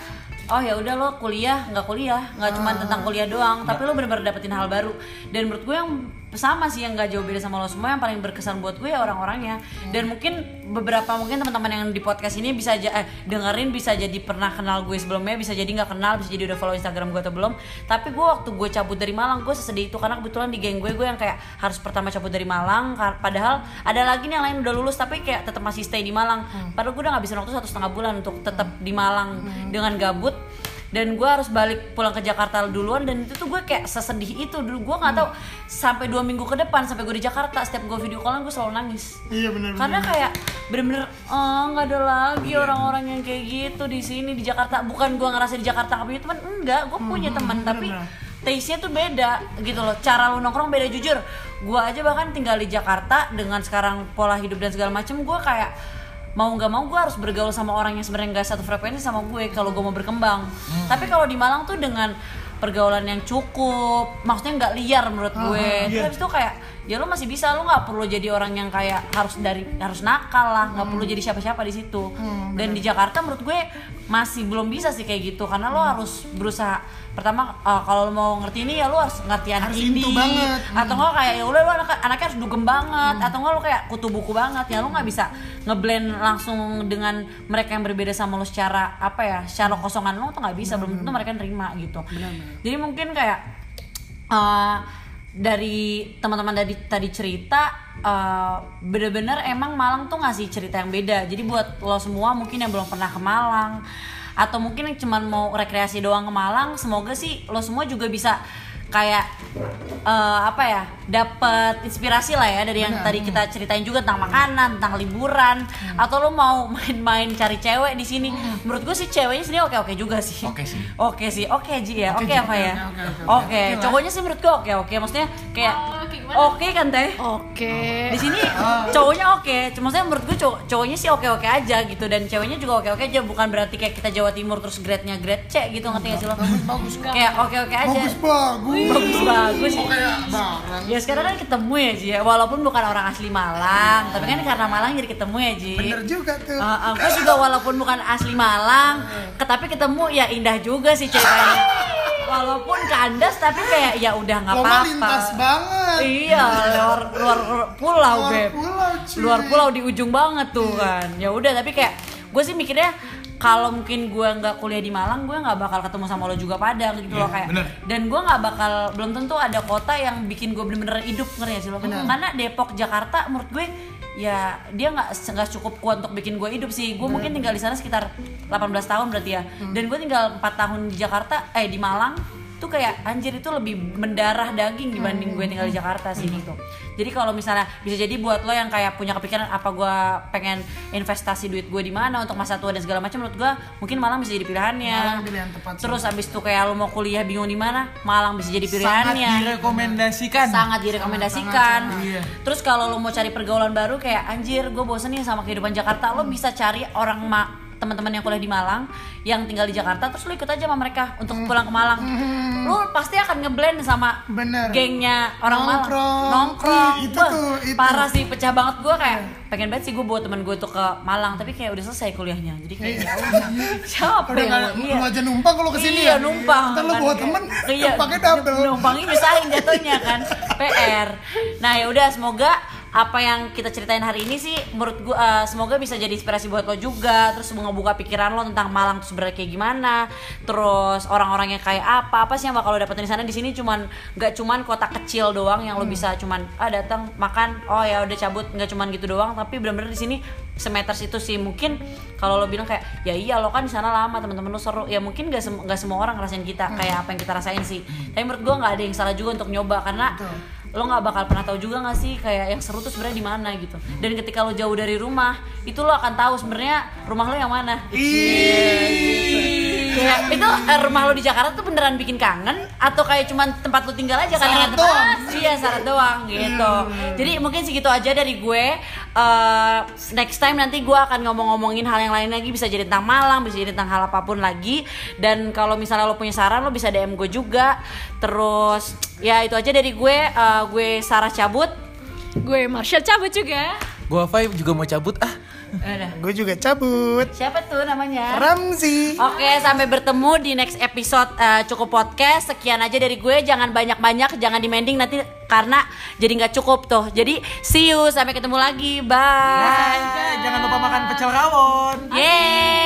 oh ya udah lo kuliah nggak kuliah nggak cuman tentang kuliah doang tapi lo bener-bener dapetin hal baru dan menurut gue yang sama sih yang nggak jauh beda sama lo semua yang paling berkesan buat gue ya orang-orangnya dan mungkin beberapa mungkin teman-teman yang di podcast ini bisa aja eh, dengerin bisa jadi pernah kenal gue sebelumnya bisa jadi nggak kenal bisa jadi udah follow instagram gue atau belum tapi gue waktu gue cabut dari Malang gue sesedih itu karena kebetulan di geng gue gue yang kayak harus pertama cabut dari Malang kar- padahal ada lagi nih yang lain udah lulus tapi kayak tetap masih stay di Malang padahal gue udah ngabisin waktu satu setengah bulan untuk tetap di Malang dengan gabut dan gue harus balik pulang ke Jakarta duluan dan itu tuh gue kayak sesedih itu dulu gue nggak tahu sampai dua minggu ke depan sampai gue di Jakarta setiap gue video callan gue selalu nangis iya benar karena kayak bener-bener oh nggak ada lagi orang-orang yang kayak gitu di sini di Jakarta bukan gue ngerasa di Jakarta nggak punya teman enggak gue punya teman tapi taste-nya tuh beda gitu loh cara lu nongkrong beda jujur gue aja bahkan tinggal di Jakarta dengan sekarang pola hidup dan segala macem gue kayak mau nggak mau gue harus bergaul sama orang yang sebenarnya nggak satu frekuensi sama gue kalau gue mau berkembang tapi kalau di Malang tuh dengan pergaulan yang cukup maksudnya nggak liar menurut gue Terus habis itu kayak ya lo masih bisa lo nggak perlu jadi orang yang kayak harus dari harus nakal lah nggak perlu jadi siapa-siapa di situ dan di Jakarta menurut gue masih belum bisa sih kayak gitu karena lo harus berusaha pertama eh, kalau lo mau ngerti ini ya lo harus ngerti anak Harus ini into banget. atau nggak kayak ya udah lo anak anaknya harus dugem banget atau nggak lo kayak kutu buku banget ya lo nggak bisa ngeblend langsung dengan mereka yang berbeda sama lo secara apa ya secara kosongan lo tuh nggak bisa belum tentu mereka nerima gitu jadi mungkin kayak eh, dari teman-teman tadi tadi cerita eh, bener-bener emang Malang tuh ngasih cerita yang beda jadi buat lo semua mungkin yang belum pernah ke Malang atau mungkin yang cuman mau rekreasi doang ke Malang semoga sih lo semua juga bisa kayak eh, apa ya dapat inspirasi lah ya dari yang tadi kita ceritain juga tentang makanan tentang liburan Hmm. atau lo mau main-main cari cewek di sini menurut gue sih ceweknya sini oke oke juga sih Oke sih. oke sih oke Ji ya oke Ji, apa ya oke, oke, oke. oke cowoknya sih menurut gue oke oke maksudnya kayak Oh, oke, gimana? oke kan teh Oke. di sini Oh. cowoknya oke cuma saya menurut gue cow- cowoknya sih oke oke aja gitu dan ceweknya juga oke oke aja bukan berarti kayak kita Jawa Timur terus grade nya grade C gitu ngerti gak sih lo bagus kayak oke oke aja bagus bagus bagus bagus Kok kayak barang ya sekarang kan ketemu ya Ji ya. walaupun bukan orang asli Malang tapi kan karena Malang jadi ketemu ya Ji bener juga tuh Uh, gue juga walaupun bukan asli Malang, ke- tapi ketemu ya indah juga sih ceritanya. Walaupun kandas tapi kayak ya udah nggak Lomba apa-apa. lintas banget. Iya, luar luar pulau, Luar Beb. pulau, Iya. cuy. Luar pulau di ujung banget tuh kan. Ya udah tapi kayak gue sih mikirnya kalau mungkin gue nggak kuliah di Malang, gue nggak bakal ketemu sama lo juga Padang gitu Iya, loh kayak. bener. Dan gue nggak bakal belum tentu ada kota yang bikin gue bener-bener hidup ngerti gak sih lo? Karena Depok, Jakarta menurut gue ya dia nggak nggak cukup kuat untuk bikin gue hidup sih. Gue mungkin tinggal di sana sekitar 18 tahun berarti ya. Hmm. Dan gue tinggal 4 tahun di Jakarta, eh di Malang tuh kayak anjir itu lebih mendarah daging Hmm. dibanding gue tinggal di Jakarta sih gitu. Jadi kalau misalnya bisa jadi buat lo yang kayak punya kepikiran apa gue pengen investasi duit gue di mana untuk masa tua dan segala macam menurut gue mungkin Malang bisa jadi pilihannya. Malang pilihan tepat sih. Terus abis itu kayak lo mau kuliah bingung di mana, Malang bisa jadi Sangat pilihannya. direkomendasikan. Sangat direkomendasikan. Iya. Terus kalau lo mau cari pergaulan baru kayak anjir, gue bosen nih sama kehidupan Jakarta, lo bisa cari orang ma teman-teman yang kuliah di Malang, yang tinggal di Jakarta, terus lo ikut aja sama mereka untuk Mm. pulang ke Malang. Lo pasti akan ngeblend sama Bener. gengnya orang Nongkrong. Malang. Nongkrong. Ih, itu Wah, tuh, itu. Parah sih, pecah banget gue kayak pengen banget sih gue bawa teman gue tuh ke Malang, tapi kayak udah selesai kuliahnya. Jadi kayak ya udah. siapa Iya. Udah yang nggak- mau- lu iya. aja numpang kalau kesini iya, ya? numpang. Ntar lu kan, bawa kayak- temen, numpangnya double. Numpangnya nyusahin jatuhnya kan. PR. Nah, ya udah semoga apa yang kita ceritain hari ini sih menurut gua eh, semoga bisa jadi inspirasi buat lo juga terus ngebuka pikiran lo tentang Malang tuh sebenarnya kayak gimana terus orang-orangnya kayak apa apa sih yang bakal lo dapetin di sana di sini cuman nggak cuman kota kecil doang yang lo Hmm. bisa cuman ah datang makan oh ya udah cabut nggak cuman gitu doang tapi bener-bener di sini semeters itu sih mungkin kalau lo bilang kayak ya iya lo kan di sana lama teman-teman lo seru ya mungkin gak, sem- gak semua orang ngerasain kita kayak apa yang kita rasain sih tapi menurut gua nggak ada yang salah juga untuk nyoba karena lo nggak bakal pernah tahu juga nggak sih kayak yang seru tuh sebenarnya di mana gitu dan ketika lo jauh dari rumah itu lo akan tahu sebenarnya rumah lo yang mana Kayak itu eh, rumah lo di Jakarta tuh beneran bikin kangen atau kayak cuman tempat lo tinggal aja kadang Syarat doang. Hmm. Ah, iya syarat doang gitu jadi mungkin segitu aja dari gue Eh, next time nanti gue akan ngomong-ngomongin hal yang lain lagi bisa jadi tentang Malang bisa jadi tentang hal apapun lagi dan kalau misalnya lo punya saran lo bisa DM gue juga terus ya itu aja dari gue Eh, gue Sarah cabut Gue Marshall cabut juga. Gua Fai juga mau cabut ah. Gue juga cabut. siapa tuh namanya Ramzi. Oke, sampai bertemu di next episode eh, cukup podcast. Sekian aja dari gue. Jangan banyak-banyak, jangan demanding nanti karena jadi nggak cukup tuh. Jadi see you, sampai ketemu lagi. Bye. Eh, Jangan lupa makan pecel rawon. Yeay.